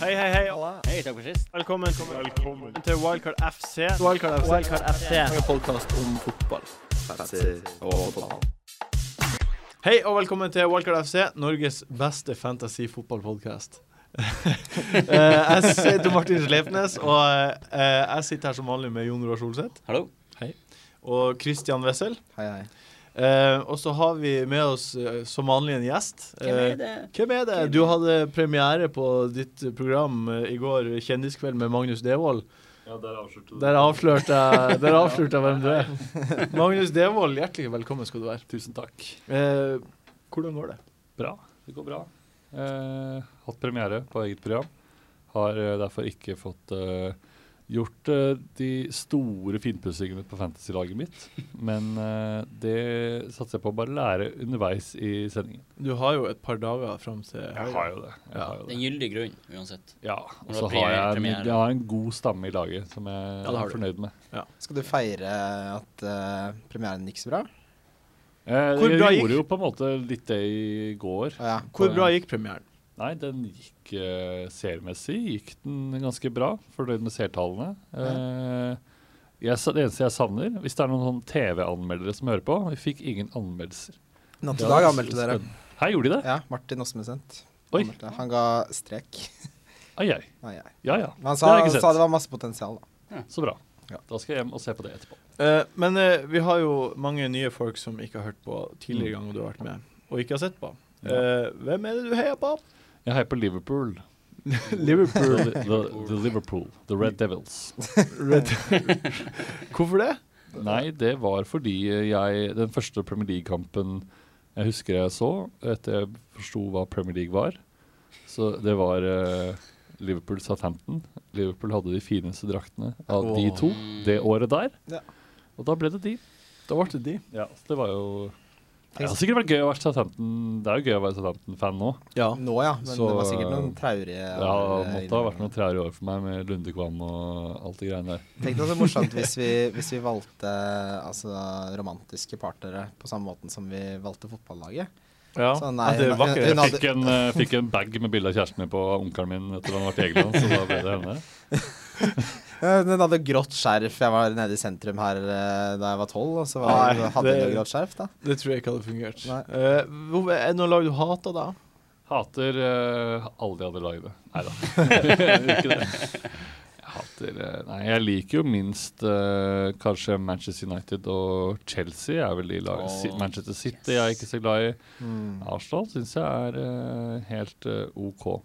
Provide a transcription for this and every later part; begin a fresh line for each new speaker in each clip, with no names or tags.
Hei, hei, hei.
Hei, takk for sist.
Velkommen, til Wildcard FC.
Wildcard FC.
Wildcard FC.
En podkast om fotball.
Hei og velkommen til Wildcard FC, Norges beste fantasy-fotballpodkast. Eh, jeg heter Martin Sleipnes, og eh, jeg sitter her som vanlig med Jon Roar Solseth
Hallo.
og Christian Wessel.
Hei, hei.
Eh, og så har vi med oss eh, som vanlig en gjest. Eh,
det?
Hvem er det? Du hadde premiere på ditt program eh, i går, Kjendiskveld med Magnus Devold. Der avslørte jeg, der avslørte jeg hvem du er. Magnus Devold, hjertelig velkommen skal du være.
Tusen takk.
Eh, hvordan går det?
Bra. Det går bra. Eh, hatt premiere på eget program. Har eh, derfor ikke fått eh, gjort eh, de store finpussingene på fantasy-laget mitt. Men eh, det satser jeg på å bare lære underveis i sendingen.
Du har jo et par dager fram til
Jeg har jo det. Jeg
Ja.
har jo
Det er
det.
en gyldig grunn, uansett.
Ja,
Når
og
det
så
blir
har jeg, en-
premiere.
jeg har en god stamme i laget som jeg
det har
er
du.
fornøyd med.
Skal du feire at eh, premieren gikk så bra?
Eh,
Hvor
jeg
bra gikk-
gjorde jo på en måte litt det i går.
Å ja.
Hvor bra gikk premieren?
Nei, den gikk eh, seermessig gikk den ganske bra. Fornøyd med seertallene. Eh, jeg, sa- det eneste jeg savner, hvis det er noen sånn TV-anmeldere som hører på Vi fikk ingen anmeldelser.
Natt
Det
til dag
var
anmeldte dere.
spennende. Her gjorde de det?
Ja, Martin Osmesent.
Oi.
anmeldte. Han ga strek.
Ai, ai.
Nei, nei.
Ja ja.
Men han
det
sa,
har jeg ikke
sa
sett.
det var masse potensial, da.
Så bra.
Ja.
Da skal jeg hjem og se på det etterpå.
Eh, men eh, vi har jo mange nye folk som ikke har hørt på tidligere ganger du har vært med, og ikke har sett på.
Ja.
Eh, hvem er det du heier på?
Jeg heier på Liverpool. The,
Liverpool.
the, the Liverpool. The Red Devils.
Red. Hvorfor det?
Nei, det var fordi jeg Den første Premier League-kampen jeg husker jeg så, etter jeg forsto hva Premier League var Så det var eh, Liverpool Southampton. Liverpool hadde de fineste draktene av de
Åh.
to det
Mm.
året der.
Ja.
Og da ble det de.
Da ble det de.
Ja, så det var jo Det har sikkert vært gøy å være Southampton Det er jo gøy å være Southampton-fan nå.
Ja.
Nå, ja. Men
Så,
det var sikkert noen traurige
Det har måtte ha vært noen traurig år for meg med Lundekvam og alt det greiene der.
Tenk deg så morsomt hvis vi, hvis vi valgte altså, romantiske partnere på samme måten som vi valgte fotballaget.
ja.
Så Sånn, nei,
At det er
hun-
vakkert.
Jeg
hun hadde-
fikk en, eh, fikk en bag med bilde av kjæresten min på onkelen min etter han var i Egeland, så da ble det henne.
Ja, Den hadde grått skjerf. Jeg var nede i sentrum her eh, da jeg var tolv, og så var,
Nei,
hadde
det-
jeg jo grått skjerf, da.
Det tror jeg ikke hadde fungert.
Nei.
Eh, hvor- er det noen lag du hater, da?
Hater eh, alle de andre lagene. Nei da. ikke det. Jeg hater eh, Nei, jeg liker jo minst eh, kanskje Manchester United og Chelsea er vel de lagene. Si-
Åh,
Manchester City er jeg ikke så glad i.
Mm.
Arsenal syns jeg er eh, helt eh, OK.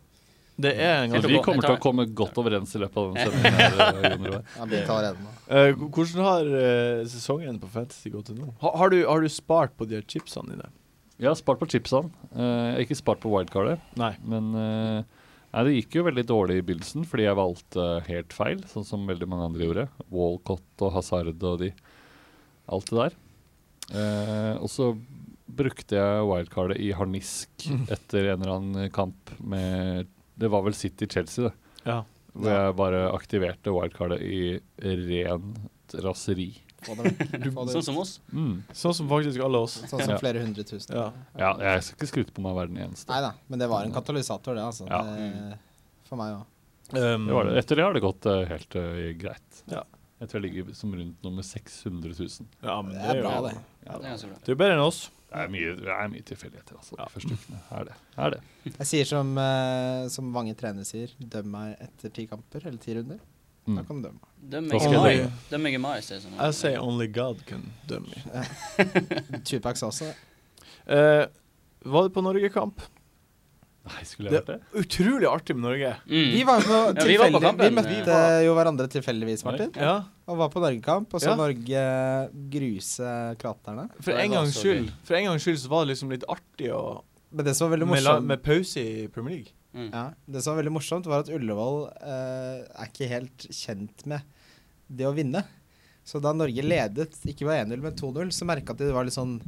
Det er en
Så
Helt
ganske
vi
ok.
kommer til
Jeg tar-
å komme godt overens i løpet av den sendingen. her, eh, Jon Roar.
Jeg begynte allerede nå.
Eh, h- Hvordan har eh, sesongen på Fantasy gått til nå? Ha, har, du, har du spart på de her chipsene dine?
Jeg har spart på chipsene. Eh, jeg har ikke spart på wildcardet.
Nei.
Men eh, nei, det gikk jo veldig dårlig i begynnelsen, fordi jeg valgte helt feil, sånn som veldig mange andre gjorde. Walcott og Hazard og de. Alt det der. Eh, og så brukte jeg wildcardet i harnisk etter en eller annen kamp med Det var vel City-Chelsea, det.
Ja.
Hvor jeg bare aktiverte wildcardet i rent raseri.
Få det vekk. Få det
Sånn
ut.
som oss.
Mm.
Sånn som faktisk alle oss.
Sånn som
Ja.
flere hundre tusen.
Ja.
Ja, jeg skal ikke skryte på meg å være den eneste.
Nei da, men det var en katalysator, det, altså.
Ja.
Det, for meg òg.
Um,
Det var det. Etter det har det gått eh, helt eh, greit.
Ja.
Jeg tror jeg ligger som rundt nummer 600 000.
Ja, men
Det
det
er
er
bra,
jo
det.
Ja, det er ganske bra.
Det er jo bedre enn oss.
Det er mye, det er mye tilfeldigheter, altså. De første ukene. Er det. Er det.
Jeg sier som, eh, som mange trenere sier, døm meg etter ti kamper, eller ti runder. Da
Mm.
kan du dømme.
Døm
Da
meg
skal
i mai.
jeg-
Døm meg i mai, sier jeg sånn.
Jeg sier only God can dømme.
Mm.
Tupac sa også det.
Uh, var det på Norgekamp?
Nei, skulle jeg
Det-
vært det?
Utrolig artig med Norge.
Mm.
Vi var jo på
Ja, vi var på
tilfeldig-
kampen.
Vi møtte jo hverandre tilfeldigvis, Martin.
Ja,
Og var på Norgekamp, og så
Ja.
Norge gruse kraterne.
For
Det
en
var
gangs
så
skyld For en gangs skyld så var det liksom litt artig å
Men det som var veldig
med, la-
morsomt
med pause i Premier League.
Mm.
Ja, Det som var veldig morsomt, var at Ullevål eh, er ikke helt kjent med det å vinne. Så da Norge ledet, ikke var 1-0, men 2-0, så merka de det var litt sånn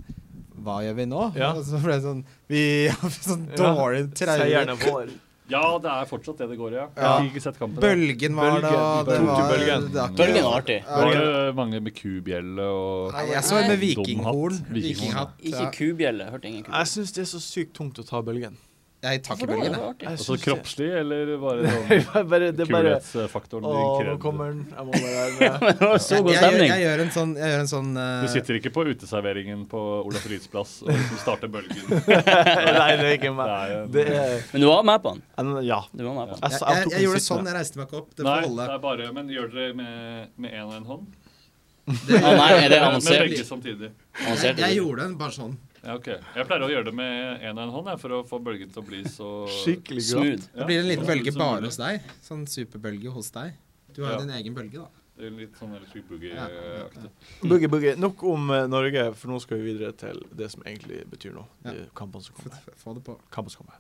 Hva gjør vi nå?
Ja.
Og så ble det sånn Vi har sånn
Ja.
dårlig traume.
Seieren er vår.
Ja, det er fortsatt det det går i. Ja.
Ja.
Jeg fikk ikke sett kampen. da.
Bølgen var det, og det
Bølgen.
var
Tok du bølgen?
det var ikke-
Bølgen var artig.
Det var det mange med kubjelle og
Nei, jeg så en med
Dum hatt.
vikinghorn.
Vikinghorn,
Vikinghatt.
Ikke kubjelle. Hørte ingen
Jeg
kubjelle.
syns det er så sykt tungt å ta bølgen.
Jeg er i
det
tankebølgen,
var
jeg.
artig.
Altså kroppslig, eller bare
Det
sånn
er bare, det er bare
kulhetsfaktoren
Å, nå
din krevde-
kommer den. Jeg må være med.
Det var så
Jeg,
god
jeg, gjør-
stemning.
jeg gjør en sånn, jeg gjør en sånn eh,
Du sitter ikke på uteserveringen på Olaf Ryds plass og liksom starter bølgen.
Nei, det er ikke meg. Det er
Men du var med på den.
Ja.
Du var med på
Jeg,
den.
jeg,
sa-
eh, jeg,
tok
jeg gjorde det
musikken.
sånn. Jeg reiste meg ikke opp. Det
Nei,
får
det
holde.
er bare Men gjør dere det med, med en og en hånd?
Å nei, er det
Med
avansert?
begge samtidig.
Jeg,
avansert
jeg gjorde den bare sånn.
Ja, ok. Jeg pleier å gjøre det med en og en hånd jeg, for å få bølgen til å bli så
Skikkelig grått.
Smooth.
Ja,
Da blir det en
så
liten
smooth
bølge
som
bare
mulig.
hos deg. Sånn superbølge hos deg. Du har
Ja.
jo din egen bølge, da.
Det er Litt sånn electric
Ja, ja,
boogie-aktig.
Boogie, boogie. Nok om eh, Norge, for nå skal vi videre til det som egentlig betyr noe.
Ja.
De kampene som kommer.
Få- Få det på.
Kampene som kommer.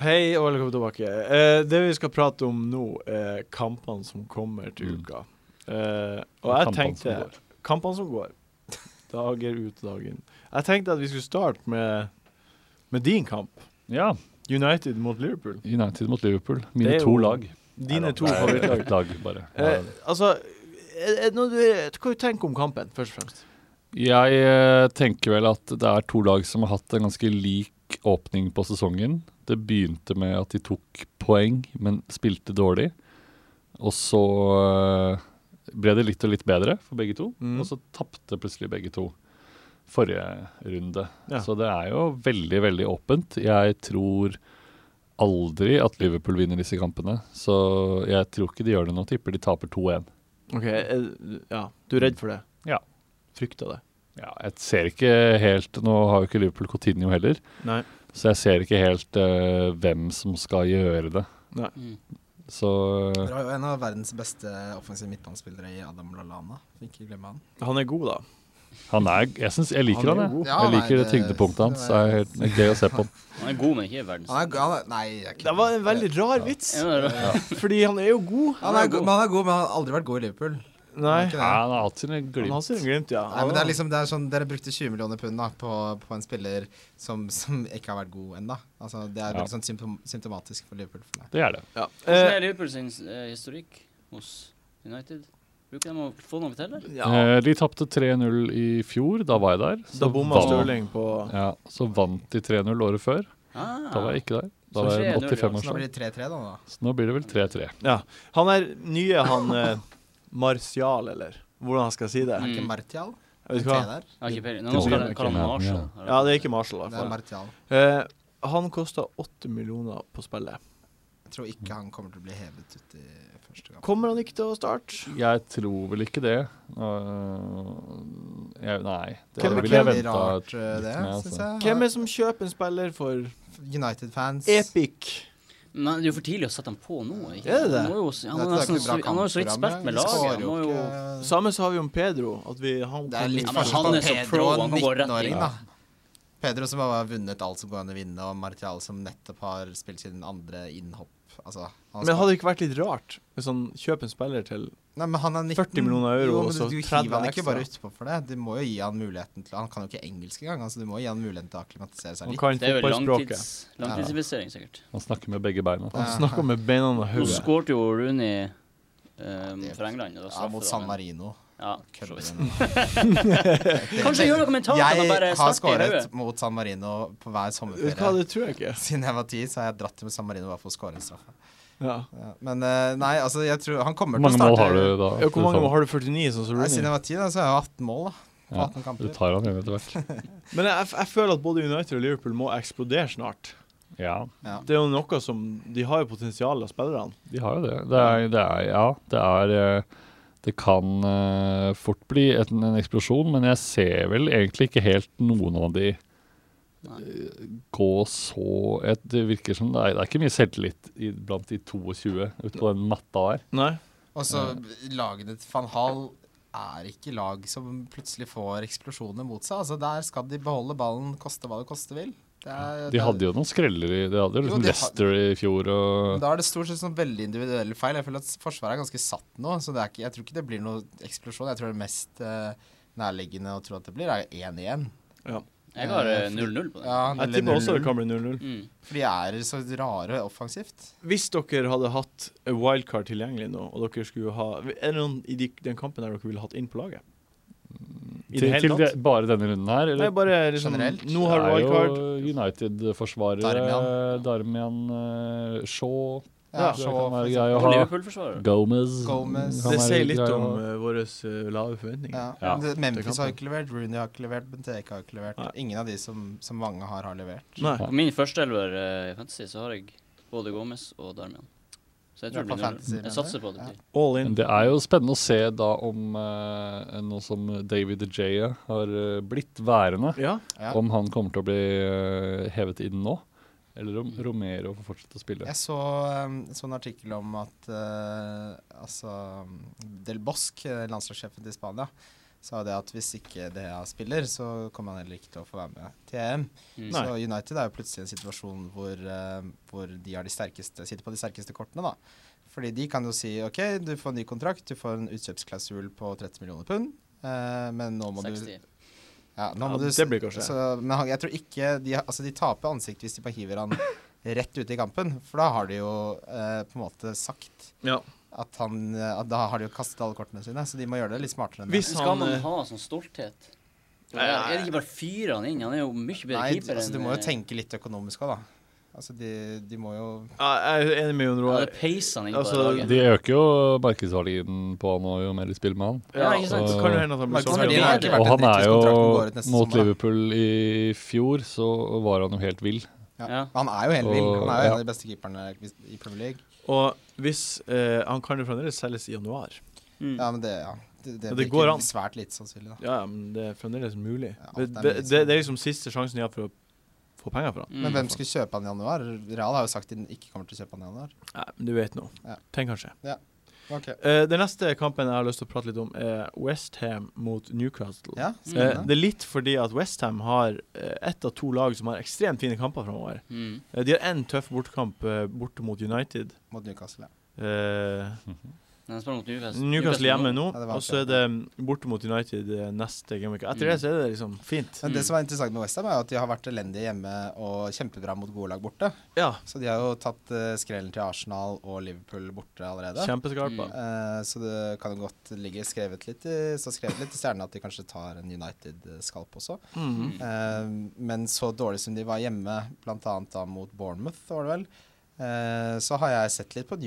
Hei og velkommen tilbake. Eh, det vi skal prate om nå, er kampene som kommer til
Mm.
uka. Eh, og
Og
jeg
kampene som
tenkte
går.
Kampene som går. Dager ut og dagen. Jeg tenkte at vi skulle starte med, med din kamp.
Ja.
United mot Liverpool.
United mot Liverpool.
Det
Mine
er
to
jo-
lag.
Dine
Nei da,
to
det er
favorittlag.
ett Lag, bare.
Eh, altså, er- er det noe du, hva du tenker du om kampen, først og fremst?
Jeg eh, tenker vel at det er to lag som har hatt en ganske lik åpning på sesongen. Det begynte med at de tok poeng, men spilte dårlig. Og så eh, ble det litt og litt bedre for begge to.
Mm.
Og så tapte plutselig begge to forrige runde.
Ja.
Så det er jo veldig, veldig åpent. Jeg tror aldri at Liverpool vinner disse kampene. Så jeg tror ikke de gjør det nå. Tipper de taper 2-1.
Ok, eh, ja, Du er redd for det?
Ja.
Frykter det?
Ja, jeg ser ikke helt Nå har jo ikke Liverpool Coutinho heller.
Nei.
Så jeg ser ikke helt eh, hvem som skal gjøre det.
Mm.
Så eh,
Dere har jo en av verdens beste offensive midtbanespillere i Adam Lallana. Ikke glemme han.
Han er god, da.
han er Jeg synes, jeg liker
Han er
han, jeg.
god.
Ja,
Jeg
nei,
liker det
det-
tyngdepunktet hans.
det
Det
er-
er helt det er gøy å se på.
Han er god, men ikke verdens.
Han er, go- han er, nei, jeg kødder.
Det var en veldig rar vits,
Ja, det er det.
fordi han er jo god.
han er, go- men han er god, men han har aldri vært god i Liverpool.
Nei.
Han er ikke det.
Ja, han har hatt sine
Han har
glimt.
sin glimt, ja.
Nei, men det er liksom, det er sånn, dere brukte 20 millioner pund da, på, på en spiller som, som ikke har vært god ennå. Altså, det er
Ja.
veldig sånn symptom, symptomatisk for Liverpool. For meg.
Det er det.
ja.
Hvordan
Eh,
er Liverpool sin eh, historikk hos United? Bruker de å få noe til, eller?
ja.
Eh, de tapte 3-0 i fjor. Da var jeg der. Så
Da bomma
vant-
Stirling på
Ja, så vant de 3-0 året før.
Ah.
Da var jeg ikke der. Da
Så
var
3-0,
jeg
ja.
85
Så da
årsdag.
blir det 3-3 da. da.
Så nå blir det vel 3-3.
Ja. Han er nye, han eh, Martial, eller hvordan han skal si det.
Er det
Mm.
ikke Martial?
Jeg vet
Det
ikke
er
hva.
tre der.
Jeg har ikke peiling.
Det
Nå skal
blir
de kalle han
ikke med,
Marshall.
Ja, det er ikke Marshall, i
Det er
hvert fall.
Martial.
Eh, han kosta åtte millioner på spillet.
Jeg tror ikke han kommer til å bli hevet ut i første gang.
Kommer han ikke til å starte?
Jeg tror vel ikke det. Øh, jeg, nei. Det
Hvem-
ville jeg
hvem-
venta
rart, eh, det,
med,
synes
altså.
jeg.
Hvem er det som kjøper en spiller for
United-fans.
Epic?
Nei, det er jo for tidlig å sette ham på nå. Ikke?
Er det det?
Han må jo s- Han
Dette
har
er
nesten
ikke bra
så- han har jo så vidt
kampprogram,
spilt med
ja. De
laget.
skårer
Han må jo
ikke-
Samme så har vi om Pedro. At vi, han
Det er litt
Ja, men han
forskjell på
er så
Pedro
pro,
og
han går rett inn.
19-åring, da. Pedro som har vunnet alt som går an å vinne, og Martial som nettopp har spilt sin andre innhopp. Altså,
Men
han skal-
hadde det ikke vært litt rart hvis han kjøper en spiller til
Nei, men han er 19.
40 millioner euro,
jo, men
og så
du-
30
Du hiver han ikke
ekstra.
bare utpå for det. Du må jo gi han muligheten til Han kan jo ikke engelsk engang, altså du må gi han muligheten til å akklimatisere seg
Han
litt.
kan
Det er vel
fotballspråket.
langtids, langtidsinvestering, sikkert.
Han snakker med begge beina.
Han snakker med beina og
Nå
hodet.
skårte jo Rooney um,
det-
for England. Og da
Ja,
straffer
mot
da,
San
men-
Marino.
Ja, så vidt.
Kødder
Kanskje gjør noe med taket og bare
Jeg har
snakke i hodet.
skåret mot San Marino på
Vet
hver
du hva,
sommerferie.
det tror jeg ikke.
Siden jeg var ti, så har jeg dratt til San Marino bare for å skåre en straffe.
Ja.
Ja, men eh, nei, altså jeg tror Han kommer
Hvor
til å
mange
starte
mål har du da?
Ja, Hvor mange
du,
mål har du? 49, sånn som
Nei, siden
Rooney?
jeg var 10, da, så har jeg 18 mål da, på
Ja.
18
tar? du
kamper.
tar han jo etter hvert.
Men jeg, jeg, jeg føler at både United og Liverpool må eksplodere snart.
Ja,
Ja.
Det er jo noe som De har jo potensial av spillerne.
de har jo det. Det er, det er Ja, det er eh, Det kan eh, fort bli en, en eksplosjon, men jeg ser vel egentlig ikke helt noen av de
Nei.
eh, gå så et, Det virker som det er, det er ikke mye selvtillit i, blant de 22 utpå den matta der.
Nei?
Og så lagene til van Hall er ikke lag som plutselig får eksplosjoner mot seg. Altså Der skal de beholde ballen, koste hva det koste vil. Det er,
De hadde jo noen skreller i De hadde jo
Jo,
liksom
de har-
Leicester i fjor og
Da er det stort sett sånn veldig individuelle feil. Jeg føler at Forsvaret er ganske satt nå, så det er ikke, jeg tror ikke det blir noe eksplosjon. Jeg tror det mest eh, nærliggende å tro at det blir, er 1-1.
Jeg har eh, 0-0 på den.
Ja,
Jeg
eller
tipper også det
0-0.
kan bli 0-0.
Mm.
For de er så rare offensivt.
Hvis dere hadde hatt eh, wildcard tilgjengelig nå, og dere skulle ha Er det noen i de, den kampen der dere ville hatt inn på laget? I det
Til, til
hele
de,
tatt?
bare denne runden her?
Nei,
Eller?
bare liksom
Generelt?
Nå har du
det er
wildcard.
jo United-forsvarere.
Darmian.
Darmian, eh, Shaw
Ja,
tror jeg
Shaw,
kan
for
være
eksempel.
grei å
Og
ha.
Liverpool-forsvarer.
Gomez.
Gomez.
kan
Det
være
sier litt
grei å
om
ha.
eh, våre eh, lave forventninger.
Ja.
Ja.
Det-
Det
Memphis
kan
har ikke levert, Rooney har ikke levert, Benteke har ikke levert.
Nei.
Ingen av de som, som Vange har, har levert.
Nei.
På min førsteelver eh, i Fantasy så har jeg både Gomez og Darmian. Så jeg
Du er
tror det
på
blir
fantasy,
null.
mener
Jeg satser
du?
på at det
Ja.
blir.
All in.
Men det er jo spennende å se da om eh, noe som David Jaya har eh, blitt værende.
Ja.
Ja.
Om han kommer til å bli eh, hevet inn nå, eller om Romero får fortsette å spille.
Jeg så, um, så en artikkel om at eh, altså, Del Bosk, eh, landslagssjefen til Spania, sa det at hvis ikke DA spiller, så kommer han heller ikke til å få være med til EM.
Mm.
Nei.
Så United er jo plutselig i en situasjon hvor, eh, hvor de har de sterkeste, sitter på de sterkeste kortene. da. Fordi de kan jo si OK, du får en ny kontrakt, du får en utkjøpsklausul på 30 millioner pund, eh, men nå må du
60.
ja, nå
Ja,
må du,
det blir kanskje-
så, Men han, jeg tror ikke de, altså de taper ansikt hvis de bare hiver han rett ut i kampen. For da har de jo eh, på en måte sagt
ja.
at han eh, at Da har de jo kastet alle kortene sine, så de må gjøre det litt smartere enn det.
Hvis-
Men skal
han,
man
eh,
ha sånn stolthet?
Nei,
Er det ikke bare fyre han inn? Han er jo mye bedre
Nei,
keeper
altså, du må jo
eh,
tenke litt økonomisk òg, da. Altså, de, de må jo
Ja, Jeg er enig med Jon
Ja,
Roar.
det peiser han inn på
Altså,
det laget.
De øker jo markedsverdien på han og jo mer de spiller med han.
Ja,
Ja, ikke sant?
så kan det hende at han blir
Men
sånn.
kan det
Ja.
være-
Og
vært en
han er jo
driftskontrakt som går ut neste
Mot
sommer, da.
Liverpool i fjor så var han jo helt vill.
ja.
Ja.
Han er jo helt vill. Han er jo
Og-
en av de beste keeperne i Premier League.
Og hvis eh, Han kan jo fremdeles selges i januar.
Mm.
Ja, men det, ja. det, det,
Ja, det går
blir ikke
an.
svært lite sannsynlig, da.
Ja, ja, men det er fremdeles mulig.
Ja,
det,
alt er
det,
sånn. mulig,
det,
så-
det er liksom siste sjansen jeg har for å få penger fra.
Mm.
Men hvem skulle kjøpe han i januar? Real har jo sagt de ikke kommer til å kjøpe han i januar.
Nei, men du vet nå.
Ja.
Tenk kanskje.
Ok.
Eh, den neste kampen jeg har lyst til å prate litt om, er Westham mot Newcastle.
Ja,
Eh,
spennende.
det er litt fordi at Westham har eh, ett av to lag som har ekstremt fine kamper framover.
Mm.
Eh, de har én tøff bortekamp eh, borte mot United.
Mot Newcastle. ja.
Eh,
Nei, han spiller mot Newcastle.
Altså, Newcastle hjemme nå,
Ja, det var
og så er
det.
det mm, borte mot United eh, neste gameweek. Etter
Mm.
det så er det liksom fint.
Men det
Mm.
som er interessant med Westham, er jo at de har vært elendige hjemme og kjempebra mot gode lag borte.
Ja,
Så de har jo tatt eh, skrellen til Arsenal og Liverpool borte allerede.
kjempeskarpa.
Eh, så det kan jo godt ligge skrevet litt i, så skrevet litt i stjernene at de kanskje tar en United-skalp også.
Mm.
Mm.
Eh, men så dårlig som de var hjemme, bl.a. da mot Bournemouth, var det vel, eh, så har jeg sett litt på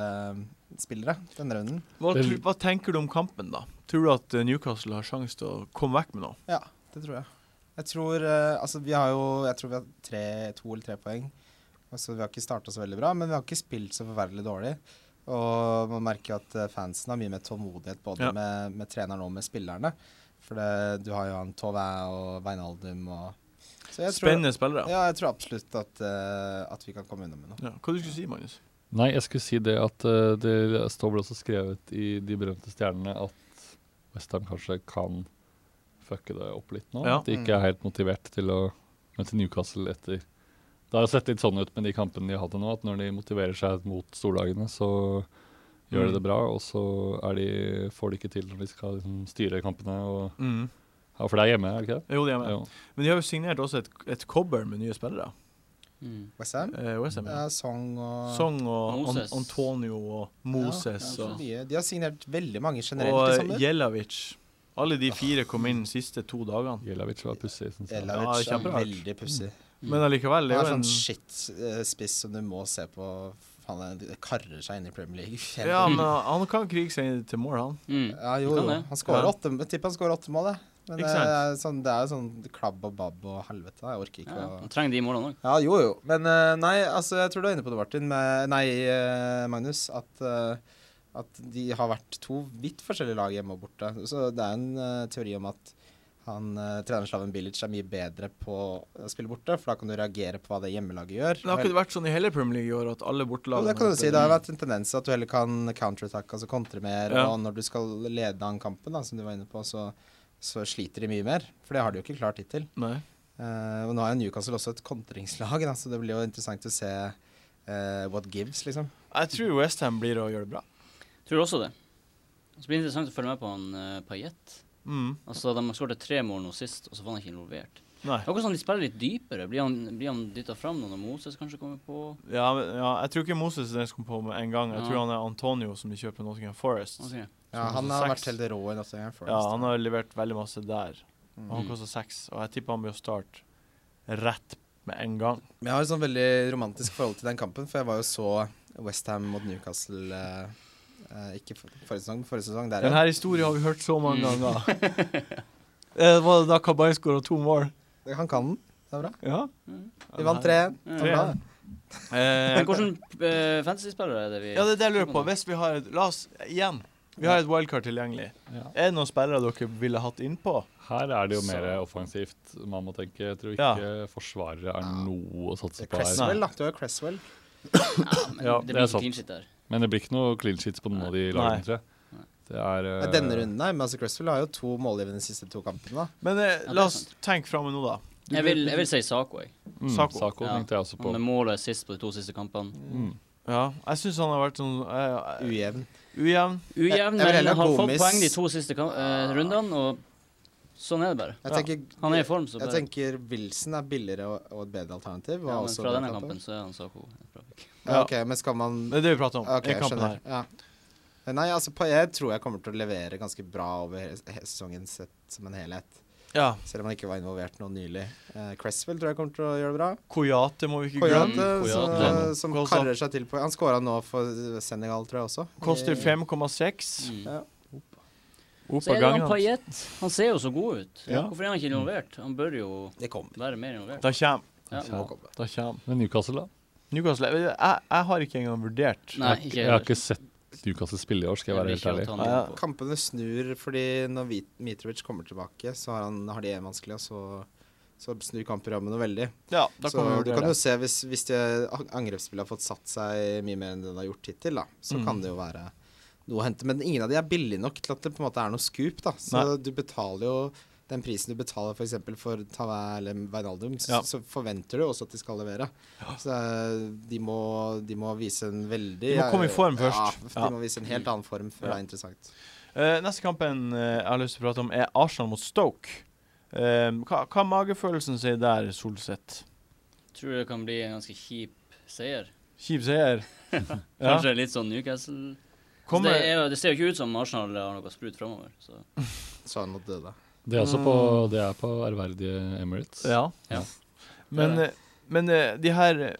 Newcastle-spillere denne runden.
Hva,
Vel-
tr- hva tenker du om kampen, da? Tror du at eh, Newcastle har sjanse til å komme vekk med noe?
Ja, det tror jeg. Jeg tror eh, Altså, vi har jo Jeg tror vi har tre, to eller tre poeng. Altså, vi har ikke starta så veldig bra, men vi har ikke spilt så forferdelig dårlig. Og man merker at eh, fansen har mye mer tålmodighet både
Ja.
med, med treneren og med spillerne. For det, du har jo han Tauvin og Veinaldum og så jeg tror,
Spennende spillere.
Ja, jeg tror absolutt at, eh, at vi kan komme unna med noe.
Ja, hva du skulle si, Magnus?
Nei, jeg skulle si det at eh, det står vel også skrevet i De berømte stjernene at Westham kanskje kan fucke det opp litt nå.
Ja.
At de ikke er helt motivert til å møte Newcastle etter Det har jo sett litt sånn ut med de kampene de hadde nå, at når de motiverer seg mot storlagene, så gjør de det bra, og så er de, får de ikke til når de skal liksom, styre kampene. Og, ja, for det er hjemme, er det ikke det?
Mm. Jo, de er med.
Jo.
Men de har jo signert også et, et kobber med nye spillere.
Mm.
Westham?
Eh, West Ham, ja.
Ja, Song og
Song og An
Moses.
Antonio og Moses
Ja, ja,
og-
så mye. De har signert veldig mange generelt i
og, og
sommer.
Jelavic. Alle de fire kom inn de siste to dagene.
Jelavic var pussig, syns jeg.
Elavic
Ja,
er sånn
kjemperart.
veldig pussig.
Men allikevel,
Han
det
er
er jo
sånn
en
shit-spiss som du må se på. Faen, han karrer seg inn i Premier League.
Ja, men han kan krige seg inn til mål, han.
Mm.
ja, jo,
Kan
jo.
det.
Han skårer
Ja.
åtte, jeg tipper han skårer åtte mål, jeg. Men
Ikke
det er,
sant?
sånn, det er jo sånn klabb og babb og helvete. Jeg orker
Ja,
ikke å
han trenger de målene òg.
Ja, jo, jo. Men eh, nei, altså, jeg tror du er inne på det, Martin. Med, nei, eh, Magnus. At, eh, at de har vært to vidt forskjellige lag hjemme og borte. Så det er en eh, teori om at han uh, treneren Slaven Bilic er mye bedre på å spille borte, for da kan du reagere på hva det hjemmelaget gjør.
Men det har ikke vært sånn i hele Premier League i år at alle
Jo,
bortelagene
det kan du
har
si.
spilt-
Det har vært en tendens at du heller kan counterattack, altså kontre mer.
Ja.
Og når du skal lede an kampen, da, som du var inne på, så, så sliter de mye mer. For det har de jo ikke klart hittil.
Nei.
Eh, og nå er jo Newcastle også et kontringslag, da, så det blir jo interessant å se eh, what gives, liksom.
Jeg tror Westham blir å gjøre det bra.
Tror også det. Så blir det interessant å følge med på han uh, Payet.
Mm.
Altså, de skåret tre mål nå sist, og så var han ikke involvert.
Nei.
Det er Akkurat sånn de spiller litt dypere. Blir han, blir han dytta fram nå når Moses kanskje kommer på?
Ja, men- ja, jeg tror ikke Moses er den som kom på med en gang. Jeg
Ja.
tror han er Antonio som de kjøper på Nottingham Forest.
Ok.
Ja,
som
han
koster
har
seks.
vært helt rå i Nottingham Forest.
Ja, han har levert veldig masse der. Og han
Mm.
koster seks, og jeg tipper han blir å starte rett med en gang.
Men Jeg har et sånn veldig romantisk forhold til den kampen, for jeg var jo så Westham mot Newcastle eh, eh, Ikke for, forrige sesong, men forrige sesong der
Den
igjen.
her historien har vi hørt så mange
Mm.
ganger. Eh, Var det da Kabay skåra to mål?
Han kan den. Det er bra.
Ja.
Mm.
Vi vant 3-1.
Ja.
Det er bra.
Eh,
Men hvordan eh, fantasy-spillere er det vi
ja, det er det jeg lurer på. Hvis vi har et La oss igjen. Vi har et wildcard tilgjengelig.
Ja.
Er det noen spillere dere ville hatt innpå?
Her er det jo
Så-
mer offensivt man må tenke. Jeg tror
Ja.
ikke forsvarere er
Ja.
noe å satse på her.
Cresswell, da. Du har Cresswell.
Men
Ja,
det
det
blir
er
ikke
sant.
clean shit der.
Men det blir ikke noe clean sheets på noen av de lagene, tror
Nei.
jeg. Det er
Ja,
eh,
Denne runden, nei. Men altså, Cresswell har jo to målgivende de siste to kampene. da.
Men eh,
er
la oss
sant.
tenke framme nå, da. Du
Jeg vil,
vet-
jeg vil si Sako, jeg.
mm,
Sako.
Sako.
Ja.
tenkte jeg også på.
Han med målet sist på de to siste kampene.
Mm.
Ja, jeg syns han har vært sånn eh,
Ujevn.
ujevn.
Ujevn,
Jeg- jeg vil
men
heller
har
ha
fått
Gomis.
poeng de to siste kam- eh, rundene, og sånn er det bare.
Jeg
Ja.
tenker,
Han er i form, så
jeg
bare
tenker Wilson er billigere og, og et bedre
ja,
alternativ. var
men
også
Fra
den
denne kampen så er han Sako. et bra pick.
Ja, ok, men skal man
Det er det vi prater om
Ok,
i
jeg
kampen
skjønner.
her.
Ja. Nei, altså, pa- jeg tror jeg kommer til å levere ganske bra over he- he- sesongen sett som en helhet.
Ja.
Selv om han ikke var involvert noe nylig. Eh, Cresswell tror jeg kommer til å gjøre det bra.
Kojate må vi ikke glemme.
Koyate,
Koyate.
som, eh, som
Kosa.
karrer seg til på Han skåra nå for Senegal, tror jeg også.
Koster
I-
5,6.
Mm.
Ja.
Opp
Så
av
er det
gangen.
han Payet. Han ser jo så god ut.
Ja.
Hvorfor er han ikke involvert? Han bør jo
Det kommer.
være mer involvert.
Da kommer
Ja.
Ja.
Må komme.
Da kommer
Men Newcastle, da?
Newcastle jeg, jeg, jeg har ikke engang vurdert.
Nei,
jeg,
ikke
jeg har ikke sett Newcastle spille i år, skal jeg være helt ærlig.
ærlig. Ja, ja.
Kampene snur fordi når Vit- Mitrovic kommer tilbake, så har, han, har de en vanskelig, og så, så snur kampprogrammet noe veldig.
Ja, da
så
kan vi
du
vurdere
kan jo
det.
se hvis, hvis de an- angrepsspillet har fått satt seg mye mer enn det de har gjort hittil, da, så
Mm.
kan det jo være noe å hente. Men ingen av de er billige nok til at det på en måte er noe scoop, da. Så
Nei.
du betaler jo den prisen du betaler f.eks. for, for Tavai eller Wijnaldum, s-
Ja.
så forventer du også at de skal levere. Så eh, de må, de må vise en veldig
De må komme i form først.
Ja,
Ja.
de må vise en helt annen form
Ja.
før det er interessant.
Eh, neste kampen eh, jeg har lyst til å prate om, er Arsenal mot Stoke. Eh, hva, hva magefølelsen sier der, Solseth?
Tror det kan bli en ganske kjip seier.
Kjip seier. ja.
Kanskje litt sånn Newcastle. Så det,
Kommer,
er, jo- det ser jo ikke ut som Arsenal har noe sprut framover. Så.
Så han døde.
Det er også på, det er på ærverdige Emirates.
Ja.
Ja.
Men,
Det er
eh, men eh, de her eh,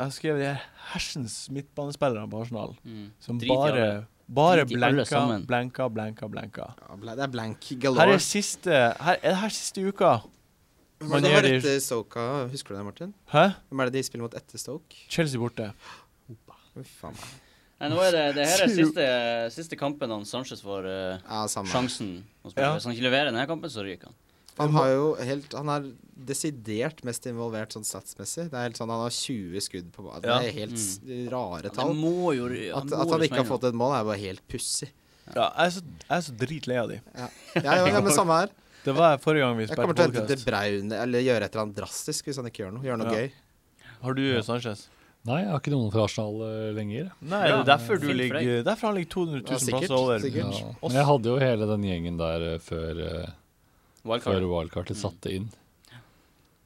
Jeg skrev de her hersens midtbanespillerne på Arsenal
Mm.
som
Drit i alle.
bare bare
Drit i alle
blenka,
sammen.
blenka, blenka, blenka.
Ja, ble- det er blank
Her
galore.
er siste Her er det her siste uka.
Hvem
man
er det
gjør
var
det-
etter Stoke, husker du det, Martin?
Hæ?
Hvem er det de spiller mot etter Stoke?
Chelsea borte.
Fy faen meg.
Nei, nå er det, det her er
Sju.
siste, siste kampen han Sanchez får eh,
Ja, samme.
sjansen å spille.
Ja.
Hvis han ikke leverer denne kampen, så ryker han.
Han har jo helt Han er desidert mest involvert sånn statsmessig. Det er helt sånn Han har 20 skudd på banen.
Ja.
Det er helt s- rare
Han
tall.
må jo ry-
At,
må
at han
jo
ikke har
smelle.
fått et mål, er bare helt pussig.
Ja, jeg er så, jeg er så dritlei av de.
Ja, ja, ja, men samme her.
Det var jeg forrige gang vi
Jeg kommer til å hente
spilte
til
podkast.
Braun eller gjøre et eller annet drastisk hvis han ikke gjør noe. Gjøre noe
Ja.
gøy.
Har du Sanchez?
Nei, jeg har ikke noen fra Arsenal eh, lenger.
Nei,
Ja.
det er derfor, du
Fint for
ligger, derfor han ligger 200
Ja,
000
sikkert,
plasser over.
Ja.
sikkert.
Men jeg hadde jo hele den gjengen der eh, før, eh,
Wildcard.
før wildcardet satte inn.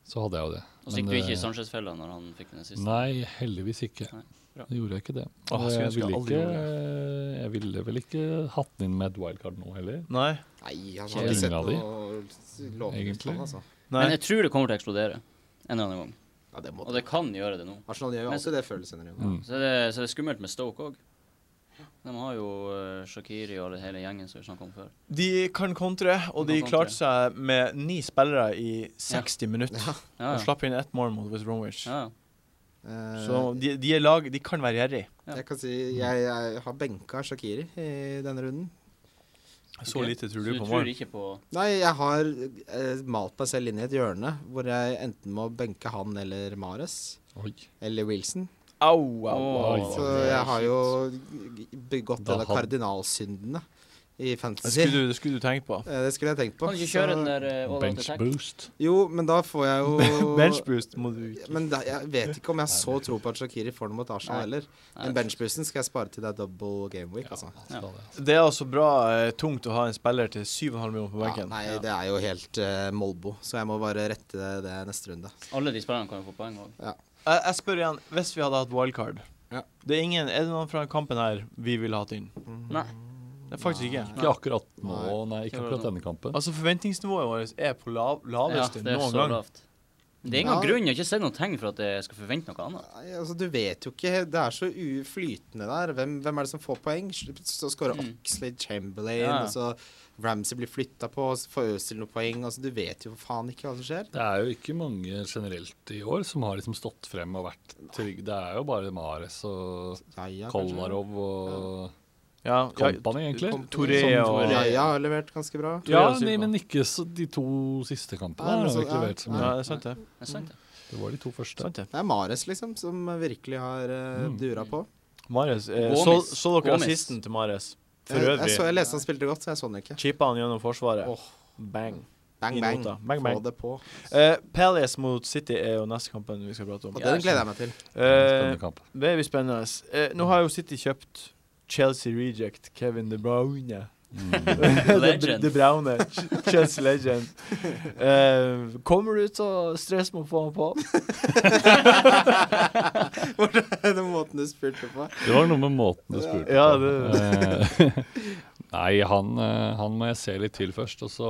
Så hadde jeg jo det.
Og så gikk du
Men,
ikke i
eh,
Sanchez-fella når han fikk den siste.
Nei, heldigvis ikke.
Nei, bra.
Det gjorde jeg ikke det.
Åh,
Og
skulle
jeg,
ønske jeg
ville
aldri
ikke, jeg ville vel ikke hatt den inn med et wildcard nå heller.
Nei.
Nei,
Ingen
han har ikke sett
av de.
noe lovende ut,
Egentlig.
han, altså.
Nei.
Men jeg tror det kommer til å eksplodere en eller annen gang.
Ja, det må
Og det kan gjøre det nå.
Arsenal gjør jo
Men-
alltid det før eller senere.
Mm.
Så er det, så er det skummelt med Stoke òg. De har jo eh, Shaqiri og hele gjengen som vi snakket om før.
De kan kontre, og
De
de
kan kontre.
klarte seg med ni spillere i 60 minutter.
Ja,
Og
ja.
slapp inn ett mål mot West Bromwich.
ja. ja.
Eh,
Så de, de er lag De kan være gjerrig.
Ja.
Jeg kan si jeg, jeg har benka Shakiri i denne runden.
Så
Ok.
lite tror
Så
du
du
på
tror
mål.
ikke på
Nei, jeg har eh, malt meg selv inn i et hjørne hvor jeg enten må benke han eller Mares.
Oi.
Eller Wilson.
Au, au.
Åh,
Oi.
Så
det er
jeg har
shit.
jo begått
Da
en av
had-
kardinalsyndene i
Det
fantasy.
skulle, du, det skulle du tenke på.
Eh, det skulle jeg tenkt på.
Kan du ikke
så-
kjøre den der eh, all out
Bench
attack?
boost.
Jo, men da får jeg jo
Benchboost må du
Men da, jeg vet ikke om jeg har så tro på at Shakiri får den mot Arsenal
Nei.
heller.
Nei,
Men benchboosten skal jeg spare til det er double game week, altså.
Ja, skal det.
Det er altså bra eh, tungt å ha en spiller til 7,5 millioner på
Ja,
benken.
nei, det er jo helt eh, Molbo, så jeg må bare rette det, det neste runde.
Alle de spillerne kan jo få poeng òg.
Jeg, jeg spør igjen, hvis vi hadde hatt wildcard
Ja.
det er, ingen, er det noen fra kampen her vi ville hatt inn?
Nei.
Nei, faktisk ikke.
Ikke akkurat nå, nei, ikke
Ikke
akkurat
akkurat
denne kampen.
Altså, forventningsnivået vårt er på lav
Ja,
laveste
det er
noen
så
gang.
lavt. Det er ingen
Ja.
grunn. Jeg har ikke sett noen tegn for at jeg skal forvente noe annet.
Nei, altså Du vet jo ikke. Det er så uflytende der. Hvem, hvem er det som får poeng? Så skårer
Mm.
Oxlade Chamberlain,
Ja, ja.
og så Ramsey blir flytta på, og så får Øzil noen poeng. Altså Du vet jo for faen ikke hva som skjer.
Det er jo ikke mange generelt i år som har liksom stått frem og vært trygge. Det er jo bare Mares og
Raja, kanskje?
Kolarov og
Ja, ja,
Kompani, egentlig.
Kom-
Touré
som-
og-
Raja har levert ganske bra.
Touré
Ja,
og Silva.
nei, men ikke så de to siste kampene.
Nei,
har han
men så-
ikke
ja,
levert så
ja,
mye.
det er sant, det.
Det er sant, det.
Det var de to første.
Sant det.
Det er Mares, liksom, som virkelig har eh,
Mm.
dura på.
Mares, eh, så,
Gomis.
så dere
Gomis.
assisten til Mares? For
Jeg, jeg,
øvrig.
så, jeg leste han spilte godt, så jeg så han ikke.
Chippa han gjennom forsvaret.
Åh.
Bang.
Bang,
I
bang.
nota. Bang, bang.
Få det på.
Eh, Palace mot City er jo neste kampen vi skal prate om.
Og
Ja,
den gleder jeg meg til.
Eh,
Spennende kamp.
det blir spennende. Eh, nå har jo City kjøpt Chelsea Reject Kevin De Bruyne.
Mm.
De,
Legend.
de Bruyne. Ch- Chelsea Legend. Eh, kommer du til å stresse med å få han på?
Den måten du spurte på.
Det var noe med måten du spurte
Ja,
på. Eh, Nei, han, eh, han må jeg se litt til først, og så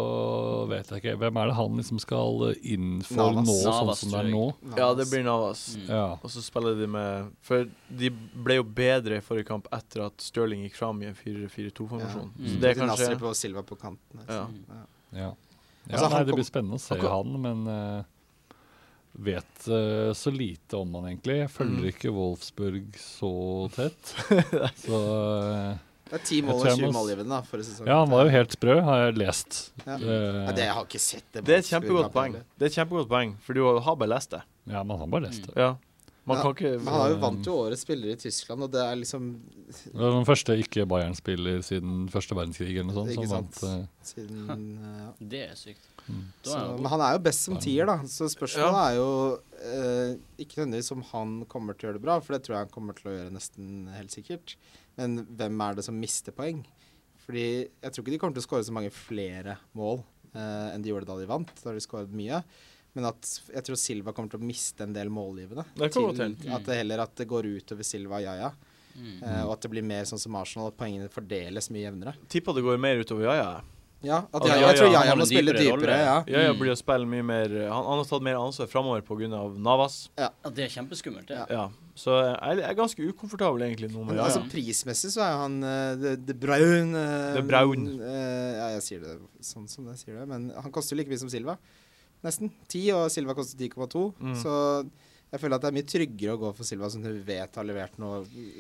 vet jeg ikke. Hvem er det han liksom skal eh, inn for
Navas.
nå, sånn
Navas,
som det
tror
er
jeg.
nå?
Ja, det blir Navas.
Mm.
Ja.
Og så spiller de med For de ble jo bedre i forrige kamp etter at Stirling gikk fram i en 4-4-2-formasjon.
Ja.
Så
Mm.
det er
Til
kanskje
Nasri på Silva på kanten. altså. her.
Ja.
ja. ja
Altså, han
nei, det
kom-
blir spennende å se han, men eh, vet eh, så lite om han egentlig. Jeg følger
Mm.
ikke Wolfsburg så tett. så eh,
Det er ti
Jeg
mål
tror
og
jeg
20
må s-
målgivende da, for sesongen.
Ja, han var jo helt sprø, har jeg lest.
Ja.
Eh,
sånn. Ja, det, jeg har ikke sett det.
Det er et kjempegodt poeng. Det er et kjempegodt poeng, for du har bare lest det.
ja, men han bare
Mm.
leste.
Ja. Man
Ja,
kan ikke
Men han har jo vant jo årets spiller i Tyskland, og det er liksom
Det var den første ikke-Bayern-spiller siden første verdenskrig eller noe sånt.
Ikke
Som vant,
sant.
eh,
siden eh, ja.
Det er sykt.
Mm.
Da
så,
er han
Men
god.
han er jo best som tier, da, så spørsmålet
Ja.
er jo eh, ikke nødvendigvis om han kommer til å gjøre det bra, for det tror jeg han kommer til å gjøre nesten helt sikkert. Men hvem er det som mister poeng? Fordi jeg tror ikke de kommer til å skåre så mange flere mål eh, enn de gjorde da de vant. Da har de skåret mye. Men at jeg tror Silva kommer til å miste en del målgivende.
Det kan godt
hende.
at det heller at det går utover Silva og Yaya,
Mm.
eh, og at det blir mer sånn som Arsenal, at poengene fordeles mye jevnere.
Tipper det går mer utover Jaja.
Ja, at
Altså,
Yaya,
Yaya
jeg tror Yaya
har
må
en
spille
dypere rolle.
dypere, ja.
Jaja
Mm.
blir å spille mye mer eh, Han, han har tatt mer ansvar framover pga. Navas.
Ja, det er kjempeskummelt, det.
Ja.
Ja. Så jeg jeg er ganske ukomfortabel egentlig nå med
Men
ja, ja.
Jaja.
altså prismessig så er jo han eh, De de Braun eh,
De Braun.
eh, Ja, jeg sier det sånn som jeg sier det, men han koster jo like mye som Silva. Nesten. 10, og Silva koster 10,2.
Mm.
Så jeg føler at det er mye tryggere å gå for Silva, som du vet har levert noe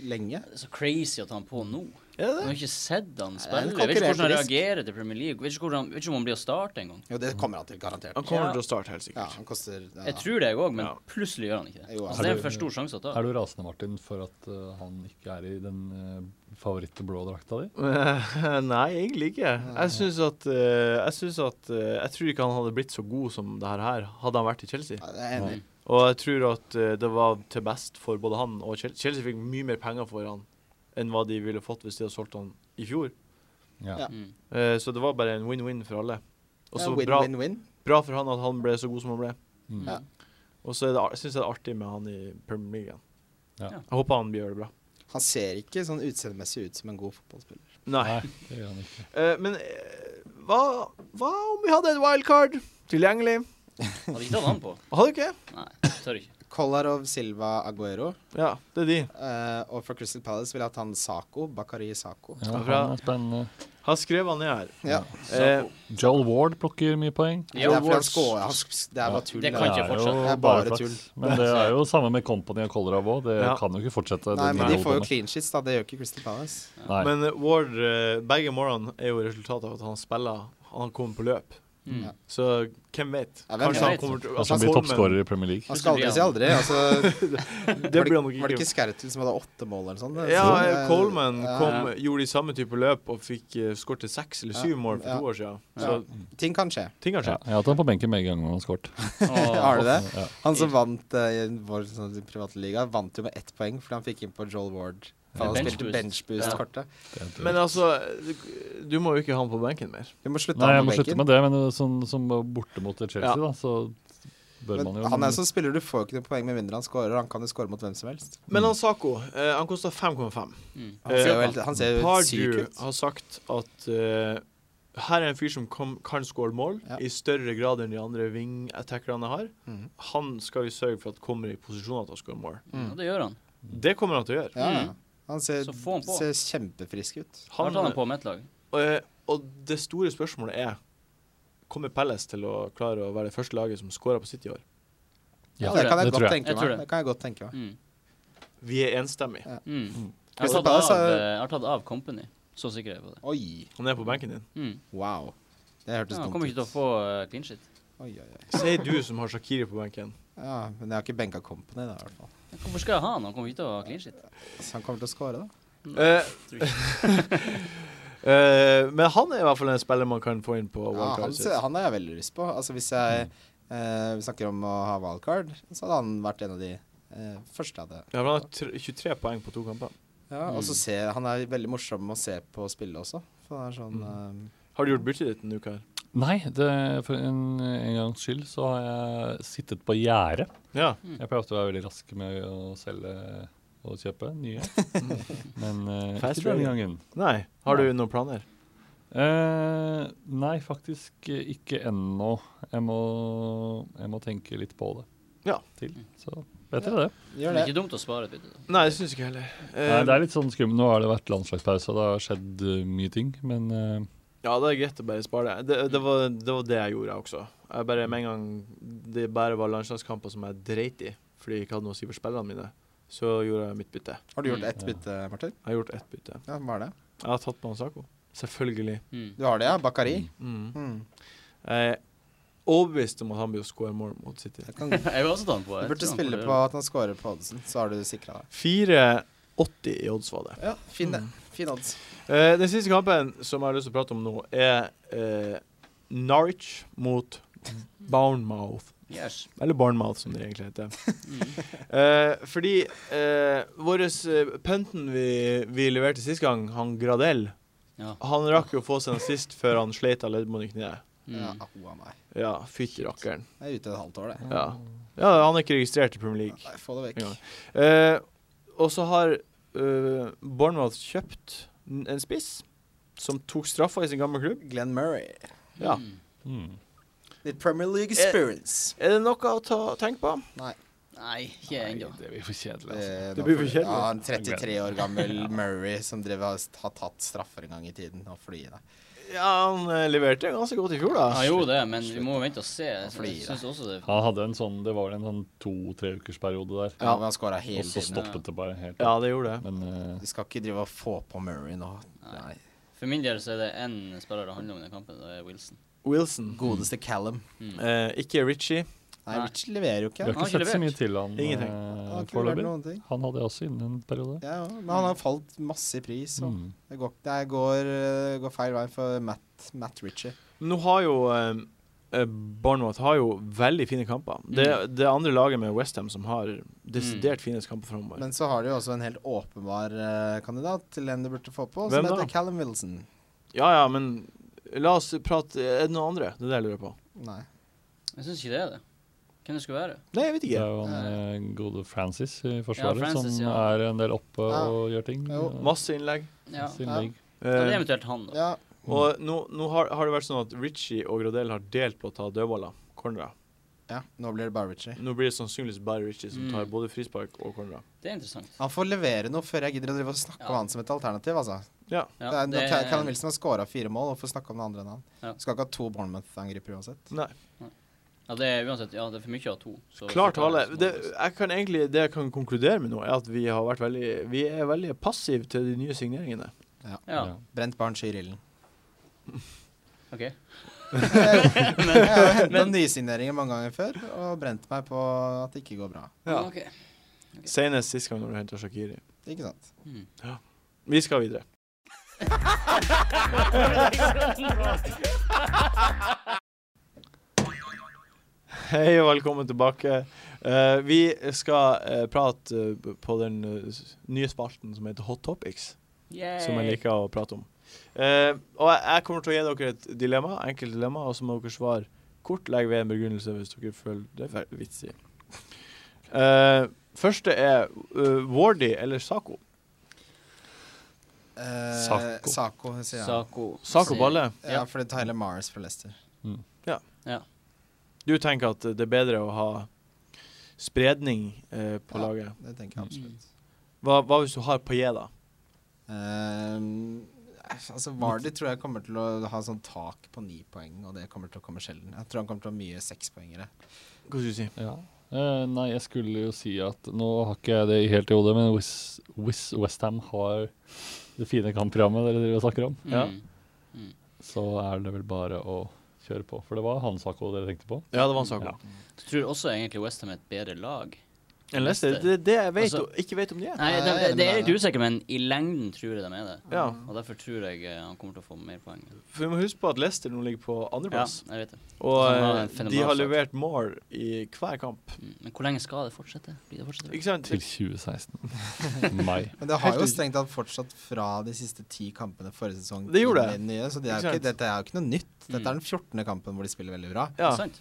lenge.
Det er så crazy at han er på nå.
Er
Jeg
det det?
har ikke sett han
Nei,
spille.
han
Jeg vet ikke hvordan han
konkurrerte
reagerer til Premier League. Jeg vet ikke, hvordan, jeg vet ikke om han blir å starte engang.
Jo, det kommer han til, garantert.
Han kommer
Ja.
til å starte, helt
Ja,
sikkert.
han koster ja.
Jeg tror det, jeg òg, men
Ja.
plutselig gjør han ikke det.
Jo,
Altså, det er en for stor sjanse å ta.
Er du rasende, Martin, for at eh, han ikke er i den uh, favoritt-blå-drakta di?
Nei, egentlig ikke. Jeg syns at eh, Jeg synes at eh, Jeg tror ikke han hadde blitt så god som det her her, hadde han vært i Chelsea.
Ja, det er jeg enig. i.
Og jeg tror at eh, det var til best for både han og Chelsea. Chelsea fikk mye mer penger for han enn hva de ville fått hvis de hadde solgt han i fjor.
Ja.
Ja.
Mm.
Eh, så det var bare en win-win for alle. Og
Det
så
er
bra,
Win-win-win.
bra for han at han ble så god som han ble.
Mm.
Ja.
Og så er det ar- synes jeg det er artig med han i Premier League. igjen.
Ja.
Ja.
Jeg håper han gjør det bra.
Han ser ikke sånn utseendemessig ut som en god fotballspiller.
Nei.
Nei, det gjør han ikke.
Eh, men eh, hva, hva om vi hadde et wildcard tilgjengelig?
Hadde ikke tatt han på.
Hadde du ikke?
Nei, tør ikke.
Kolarov, Silva, Aguero.
Ja, det er de.
Eh, og for Crystal Palace vil jeg at han Sako, Bakari Sako.
Ja,
Ja, bra.
han er spennende.
Har skrevet han ned her.
Ja.
Eh,
Joel Ward plukker mye poeng.
Det er
Jo,
fordi han scorer. Han sk- Det er bare tull.
Det
det
kan
der.
ikke
er
fortsette.
jo
Det er bare
bare
tull.
flaks. Men det er jo samme med Company og Kolarov òg. Det
Ja.
kan jo ikke fortsette.
Nei,
det
men de får jo
nivået.
clean sheets, da. Det gjør ikke Crystal Palace.
Nei.
men eh, Ward, eh, begge morgenene er jo resultatet av at han spiller, han kommer på løp.
Mm.
Ja.
Så hvem vet?
Ja, hvem
Kanskje
vet?
han kommer til altså,
Og
altså,
så blir toppskårer i Premier League.
Man skal aldri si aldri. Altså,
Holmen- Det blir
var, det,
han nok
var det
ikke.
ikke Skertil som hadde åtte mål eller sånn?
Ja, eh, Coleman
Ja.
kom, gjorde de samme type løp og fikk eh, skåret til seks eller syv
Ja,
mål for
ja.
to år siden. Så
Eh, Ting kan skje.
ting har
Ja,
skjedd.
jeg har hatt ham på benken begge ganger han har skåret.
Har du det?
Ja.
Han som vant eh, i vår sånn, private liga, vant jo med ett poeng fordi han fikk inn på Joel Ward. For han
Bench
spilte
boost.
benchboost-kortet. eh,
Men altså, du- du må jo ikke ha han på benken mer.
Du må slutte
Nei, jeg
han
må
på
slutte
benken.
med det, men uh, sånn som borte mot Chelsea,
Ja.
da, så Bør man
Men
jo.
han er sånn spiller du får jo ikke noe poeng med mindre han scorer. Han kan jo score mot hvem som helst.
Men han Sako, eh, han koster 5,5.
Mm.
Han ser jo,
Eh,
helt, han ser jo helt syk
Pardew
ut.
altså.
har sagt at eh, her er en fyr som kom, kan skåre mål
Ja. Mhm.
i større grad enn de andre wing-attackerne har. Han skal vi sørge for at kommer i posisjoner til å skåre mål.
Mm.
Ja, det gjør han.
Det kommer han til å gjøre.
Ja, ja.
Mm.
Han ser,
Så få han på.
ser kjempefrisk ut.
Han
Han,
tar han på mitt lag.
eh, og det store spørsmålet er Kommer Pelles til å klare å være det første laget som skårer på sitt i år?
Ja,
det kan
det
jeg,
tror
godt
jeg.
tenke
Jeg tror
meg.
det.
Det kan jeg godt tenke meg.
Mm.
Vi er enstemmige.
Mm. Jeg, har
Crystal
tatt
Palace
av,
er-
eh, jeg har tatt av Company. Så sikker er jeg på det.
Oi.
Han er på benken din.
Mm.
Wow. Det
Ja,
hørtes
han kommer
dumt
ikke til å
ut.
få eh, clean shit.
Oi, oi, oi.
Sier du som har Shakiri på benken.
Ja, men jeg har ikke benka Company, da, i hvert fall.
Hvorfor skal jeg ha han? Han kommer ikke til å ha clean shit.
Så han kommer til å score, da.
Eh,
Tror ikke.
eh, men han er i hvert fall en spiller man kan få inn på
Ja, han,
wildcardet sitt.
ser, han har jeg veldig lyst på. Altså, hvis jeg eh, vi snakker om å ha wildcard, så hadde han vært en av de eh, første jeg hadde.
Ja, men han har tr- 23 poeng på to kamper.
Ja, Og så
Mm.
ser han er veldig morsom å se på å spille også. For han er sånn
Mm.
eh,
Har du gjort byttet ditt denne uka? her?
Nei, det, for en, en gangs skyld så har jeg sittet på gjerdet.
Ja.
Jeg pleier ofte å være veldig rask med å selge og kjøpe nye. Men eh,
Fast
ikke
trading.
denne gangen.
Nei. Har du noen planer?
Eh, nei, faktisk eh, ikke ennå. Jeg må, jeg må tenke litt på det.
Ja. Mm.
Til, så vet dere det.
gjør
Men
det.
ikke dumt å spare et bytte. da.
Nei, det syns ikke jeg heller.
Nei,
Eh,
det er litt sånn skummelt. Nå har det vært landslagspause, og det har skjedd eh, mye ting. Men eh,
Ja, det er greit å bare spare det. Det, det, var, det var det jeg gjorde også. Jeg bare, Med en gang det bare var landslagskamper som jeg dreit i fordi jeg ikke hadde noe å si for spillene mine, så gjorde jeg mitt bytte.
Har du gjort ett
Ja.
bytte, Martin?
Jeg har gjort ett bytte.
Ja, hva er det?
Jeg har tatt med Sako. Selvfølgelig.
Mm.
Du har det, ja? Bakari?
Mm.
Mm.
Jeg er overbevist om at han blir å score mål mot City.
Jeg kan,
Jeg vil også ta han på.
du
Jeg
burde
tror han
spille
kommer til å
på
gjøre
at han scorer på oddsen, så har du sikra deg.
4,80 i odds var det.
Ja,
Mm.
fin det. Fin odds.
Eh, den siste kampen som jeg har lyst til å prate om nå, er eh, Norwich mot Bournemouth.
det. Yes.
Eller Barnmouth, som det egentlig heter.
Mm.
Eh, fordi eh, vår punten vi, vi leverte sist gang, han Gradell,
Ja.
han rakk jo å få seg en sist før han sleit av leddbånd i kneet.
Mm.
Ja, au a meg.
Ja, fytti rakkeren.
Jeg er ute et halvt år, det.
Ja. ja, han er ikke registrert i Premier League.
Nei, få det vekk.
Ja. Eh, og så har eh, Bournemouth kjøpt n- en spiss som tok straffa i sin gamle klubb.
Glenn Murray.
Ja.
Mm.
mm.
Litt Premier League experience.
Er det noe å ta, tenke på?
Nei, ikke
Nei,
ennå.
det blir for kjedelig, altså.
Eh,
Det
nå
blir
får
for
du-
kjedelig.
Ja, en 33 år gammel Murray som drev, og har tatt straffer en gang i tiden. Nå får du gi deg.
Ja, han eh, leverte ganske godt i fjor, da.
Han gjorde det, men vi må vente og se.
Fordi
Jeg
det-
syns også det.
Han hadde en sånn Det var vel en sånn to-tre ukers periode der.
Ja.
Ja, men han scora hele
Og så
tiden.
stoppet det bare helt.
Ja,
opp.
det gjorde det.
Men eh,
Du skal ikke drive og få på Murray nå. Nei.
For min del så er det én spiller det handler om i den kampen, det er Wilson.
Wilson.
Godeste Callum.
Mm.
Eh, ikke Ritchie.
Nei,
Nei.
Rich leverer jo
vi
ikke.
Han
har ikke
har ikke
sett så mye
levert.
til han
Ingenting.
eh,
Han har ikke vært
foreløpig.
noen ting.
Han hadde jeg også innen en periode.
Ja, ja, men han har falt masse i pris. Og
Mm.
det går, det her går, eh, går feil vei for Matt, Matt Ritchie.
Nå har jo eh, eh, Bournemouth har jo veldig fine kamper. Det,
Mm.
det andre laget med Westham som har desidert finest kamper framover.
Men så har de jo også en helt åpenbar eh, kandidat til en du burde få på, som
Hvem da?
heter Callum Wilson.
Ja ja, men la oss prate Er det noen andre? Det er det jeg lurer på.
Nei.
Jeg syns ikke det er det. Hvem det skulle være?
Nei, jeg vet
Det
ikke.
er jo han eh, gode Francis i Forsvaret
Francis,
som
ja.
er en del oppe
Ja.
og gjør ting.
Jo.
eh,
Masse innlegg.
Ja.
sin
Ja.
ligg.
ja, det er
Eh,
eventuelt han, da.
Ja,
og nå, nå har, har det vært sånn at Ritchie og Gradel har delt på å ta dødballer. Cornerer.
ja, nå blir det bare Ritchie.
Nå blir det sannsynligvis bare Ritchie som
Mm.
tar både frispark og cornerer.
Det er interessant.
Han får levere noe før jeg gidder å drive og snakke om
Ja.
han som et alternativ. altså.
Ja.
Ja,
det er,
det
Cal-
er-
Callum Wilson har scora fire mål, hvorfor snakke om det andre enn han?
Ja.
Du Skal ikke ha to Bournemouth-angripere uansett.
Nei.
Ja, det er uansett Ja, det er for mye av to. så-
Klar
så tar
tale.
jeg som
Det,
Wilson.
jeg kan egentlig, det jeg kan konkludere med nå, er at vi har vært veldig Vi er veldig passive til de nye signeringene.
Ja,
Ja.
Brent barn skyr ilden.
OK.
Jeg har jo henta nysigneringer mange ganger før og brent meg på at det ikke går bra.
Ja. ok.
Senest sist gang når du henta Shakiri.
Ikke sant?
Mm.
Vi skal videre. Hei og velkommen tilbake. Eh, vi skal eh, prate eh, b- på den eh, s- nye spalten som heter Hot Topics, som jeg liker å prate om. Eh, og jeg, jeg kommer til å gi dere et dilemma, enkelt dilemma, og så må dere svare Kortlegg ved en begrunnelse hvis dere føler det er fe- vitsig. Eh, første er eh, Wardy eller Saco.
Eh,
Sako.
Sako, sier han.
Sako.
Saco
sier-
Balle.
Ja, for det er Tyler Mars for Leicester.
Du tenker at det er bedre å ha spredning eh, på
Ja.
laget.
Det tenker jeg absolutt.
Hva, hva hvis du har Paillet, da?
Mm.
Ehm, altså Vardy tror jeg kommer til å ha sånn tak på ni poeng, og det kommer til å komme sjelden. Jeg tror han kommer til å ha mye sekspoengere.
Hva skulle du si?
Ja. Eh, nei, jeg skulle jo si at Nå har ikke jeg det helt i hodet, men hvis hvis Westham har det fine kampprogrammet dere driver og snakker om,
Mm.
Ja.
så er det vel bare å kjøre på. For det var han Sako dere tenkte på.
Ja, det var en sak.
Ja.
Jeg tror også egentlig Westham er et bedre lag.
En Leicester.
Leicester.
Det er det jeg vet,
Altså-
og ikke vet om de er.
Nei,
jeg
de,
er
de,
enig
de
med
er
deg,
litt usikre, men i lengden tror jeg de er det.
Ja,
Og derfor tror jeg eh, han kommer til å få mer poeng.
for Vi må huske på at Leicester nå ligger på
Ja,
andreplass,
jeg vet det.
og
Så han har en
eh, de
fenomenal
har
start.
levert mål i hver kamp.
Mm. Men hvor lenge skal det fortsette? Blir det fortsette?
Ikke sant?
Til 2016. Mai.
Men det har
Helt
jo
ut-
strengt tatt fortsatt fra de siste ti kampene forrige sesong.
Det gjorde
til
det.
den Nye, så det er
Ikke
jo
sant? Mm.
ikke, dette er jo ikke noe nytt. Dette
Mm.
er den 14. kampen hvor de spiller veldig bra.
Ja.
Sant?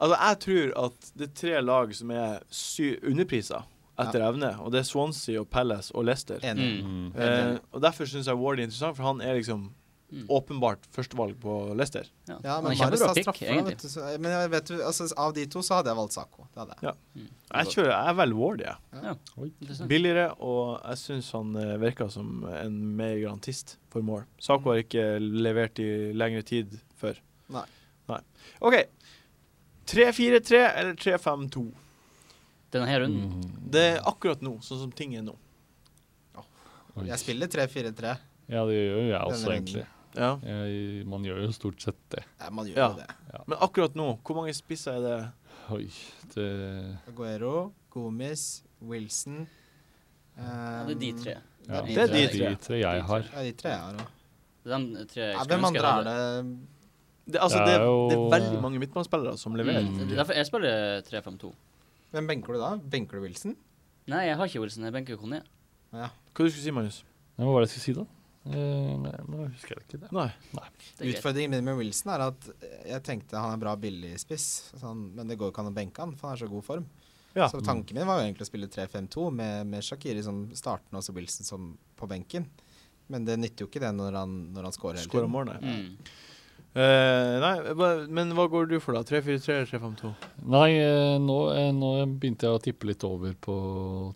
Altså, jeg tror at det er tre lag som er sy underpriser etter evne, og det er Swansea og Palace og Leicester.
Enig.
Mm.
Mm.
Eh, og Derfor syns jeg Ward er interessant, for han er liksom
Mm.
åpenbart førstevalg på Leicester.
Ja.
Ja,
Han er
men Marius
kjempebra
har
pick,
straffer, da,
egentlig.
vet du. Så, men jeg vet, du, altså, av de to så hadde jeg valgt Sako. Det hadde jeg.
Jeg kjører, jeg velger Ward, jeg.
Interessant.
Billigere, og jeg syns han eh, virker som en mer garantist for mål. Sako har ikke levert i lengre tid før.
Nei.
Nei. OK. 3-4-3 eller 3-5-2?
Denne her runden.
Mm.
Det er akkurat nå, sånn som ting er nå.
Oi.
Jeg spiller 3-4-3.
Ja, det gjør jo jeg også,
Denne
egentlig.
Ja.
Jeg, man gjør jo stort sett det.
Ja, man gjør
Ja.
jo det.
Men akkurat nå, hvor mange spisser er det?
Oi, det
Aguero, Gomis, Wilson ehm,
Ja, det er de tre.
ja.
Det er de tre.
de tre jeg har.
Ja, de tre jeg har òg.
Det er de tre jeg
Ja,
skulle
hvem
ønske jeg
andre er
hadde.
det?
Det, altså,
Det
det,
er
er
jo-
det er veldig mange midtbanespillere som leverer.
Mm. Det er Derfor jeg spiller 3-5-2.
Hvem benker du da? Benker du Wilson?
Nei, jeg har ikke Wilson. Jeg benker Kone.
Hva
Ja.
du skulle du si, Magnus?
Nei, Hva var det jeg skulle si, da? Eh, nei, nå husker jeg ikke det.
Nei.
Det er greit.
Utfordringen min med Wilson er at eh, jeg tenkte han er bra billig spiss, så han- men det går ikke an å benke han, for han er så god form.
Ja.
Så tanken min var jo egentlig å spille 3-5-2 med, med Shakiri som startende og så Wilson som på benken. Men det nytter jo ikke det når han, når han scorer hele
Skåra
tiden.
mål, nei.
Mm.
Eh, nei, hva- men hva går du for, da? 3-4-3 eller 3-5-2?
Nei, eh, nå, eh, nå begynte jeg å tippe litt over på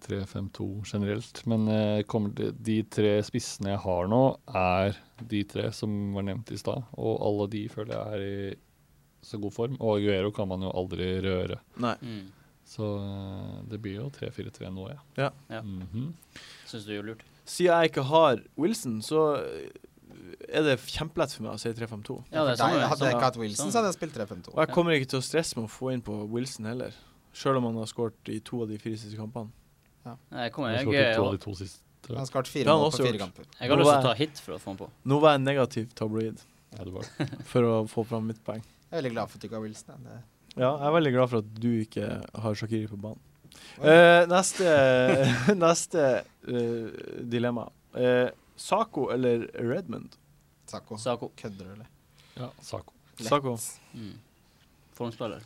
3-5-2 generelt. Men eh, kommer de, de tre spissene jeg har nå, er de tre som var nevnt i stad. Og alle de føler jeg er i så god form. Og Aguero kan man jo aldri røre.
Nei.
Mm.
Så eh, det blir jo 3-4-3 nå, ja.
Ja.
Ja.
Mhm.
Syns du gjør lurt?
Siden jeg ikke har Wilson, så eh, er det kjempelett for meg å si 3-5-2.
Ja, det er
Nei,
samme.
hadde jeg
samme.
ikke hatt Wilson, så hadde jeg spilt 3-5-2.
Og jeg kommer ikke til å stresse med å få inn på Wilson heller. Sjøl om han har skåret i to av de fire siste kampene.
Nei, jeg kommer.
Jeg
Jeg,
har skåret
jeg,
to av
jeg,
de to siste.
Han har skåret fire
Det har han
mål på
også
fire
gjort.
kamper.
har lyst til å ta hit for å få den på.
Nå var jeg negativ tabloid
Ja, det var.
for å få fram mitt poeng.
Jeg er veldig glad for at du ikke har Wilson. jeg. Det,
Ja, jeg er veldig glad for at du ikke har Shakiri på banen. Eh, neste neste eh, dilemma. Eh, Sako eller Redmond?
Sako.
Sako.
Kødder du, eller?
Ja, Sako.
Lett.
Sako.
Mm. Formspiller.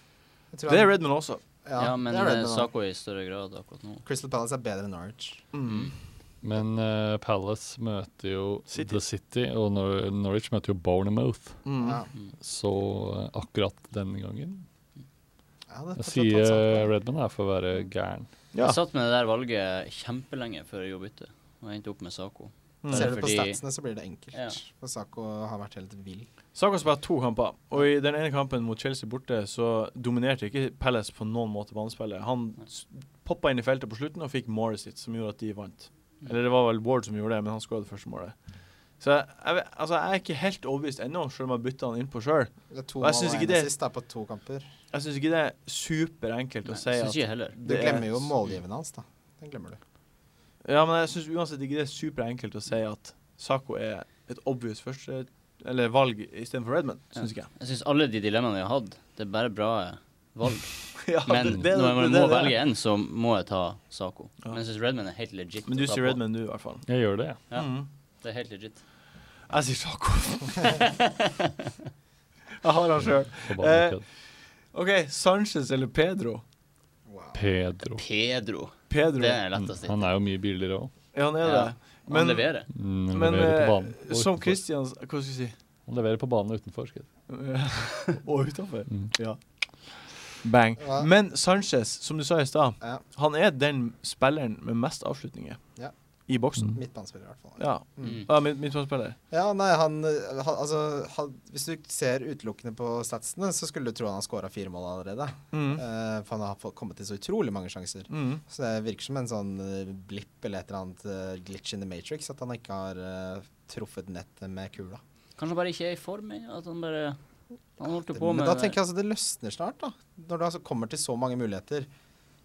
Jeg tror
Det er
han-
Redmond også.
Ja, men
det er Redmond,
eh,
da.
Sako i større grad akkurat nå.
Crystal Palace er bedre enn Norwich.
Mm.
Men eh, Palace møter jo
City.
The City, og Nor Norwich møter jo Bournemouth.
Mm.
Ja.
Så eh, akkurat denne gangen
Ja, det er
Jeg
fortsatt tatt
sier
Sako.
eh,
Redman er for å være gæren.
Ja.
Jeg satt med det der valget kjempelenge før jeg gjorde bytte, og jeg endte opp med Sako.
Mm.
Ser du på
fordi-
statsene, så blir det enkelt.
Ja.
For Sako har vært helt vill.
Saka har spilt to kamper, og i den ene kampen mot Chelsea borte så dominerte ikke Palace på noen måte banespillet. Han poppa inn i feltet på slutten og fikk målet sitt, som gjorde at de vant. Eller det var vel Ward som gjorde det, men han skåra det første målet. Så jeg, jeg, vet- altså, jeg er ikke helt overbevist ennå, selv om jeg bytta han innpå sjøl.
Det er to
Og jeg
mål
synes
og
ikke
en
det-
assist da, på to kamper.
Jeg syns ikke det er superenkelt
Nei,
å si
synes
at
ikke jeg heller.
Du
Det er-
glemmer jo målgivende hans, da. Den glemmer du.
Ja, men jeg syns uansett ikke det er superenkelt å si at Sako er et obvious første eller valg istedenfor Redman, syns ikke jeg.
Jeg syns alle de dilemmaene vi har hatt, det er bare bra valg.
Ja,
Men
det- det-
når
det-
man
det-
må
det-
velge en, så må jeg ta Sako.
Ja.
Men jeg syns Redman er helt legit.
Men
å
du
ta
sier
på.
Redman, du, i hvert fall.
Jeg gjør det, jeg.
Ja.
Mhm.
Det er helt legit.
Jeg sier Sako. jeg har han sjøl.
Forbanna
Eh,
kødd.
OK, Sanchez eller Pedro?
Pedro.
Pedro.
Pedro.
Det er
Han
lettest. hit.
er jo mye billigere òg.
Ja, Mm, han er
Ja.
det.
Han
Men,
leverer.
Mm, han
men
leverer på
eh,
banen. og
som
utenfor.
Christian Hva skal jeg si?
Han leverer på banen og utenfor. skal jeg si.
Og utafor.
Mm.
Ja. Bang.
Ja.
Men Sanchez, som du sa i stad,
Ja.
han er den spilleren med mest avslutninger
Ja.
i boksen.
Mm.
Midtbanespiller, i hvert fall.
Ja.
Mm.
ja min, midtbanespiller.
Ja, nei, han, eh, han Altså, han, hvis du ser utelukkende på statsene, så skulle du tro han har skåra fire mål allerede.
Mm.
Eh, for han har fått- kommet til så utrolig mange sjanser.
Mm.
Så det virker som en sånn eh, blipp eller et eller annet eh, glitch in the matrix, at han ikke har eh, truffet nettet med kula.
Kanskje han bare ikke er i form ennå? At han bare Han holdt jo på eh,
Men
med
da tenker jeg altså det løsner snart, da. Når det altså kommer til så mange muligheter,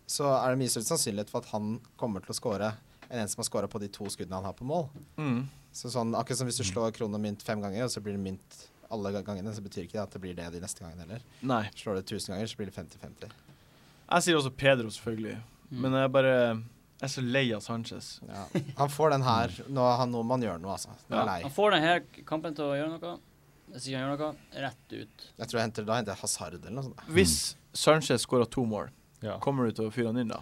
så er det mye større sannsynlighet for at han kommer til å skåre enn en som har skåra på de to skuddene han har på mål.
Mm.
Så sånn, akkurat som hvis
Mm.
du slår krone og mynt fem ganger, og så blir det mynt alle ga- gangene, så betyr ikke det at det blir det de neste gangene heller.
Nei.
Slår du 1000 ganger, så blir det 50-50.
Jeg sier også Pedro, selvfølgelig.
Mm.
Men jeg bare Jeg er så lei av Sanchez.
Ja. Han får den her.
Mm.
Nå, han, nå må han gjøre noe, altså. Nå er
Han
jeg lei.
får denne kampen til å gjøre noe. Hvis ikke han gjør noe, rett ut.
Jeg tror jeg henter, da henter jeg Hazard eller noe sånt.
Hvis Sanchez skårer to mål,
Ja.
kommer du til å fyre han inn da?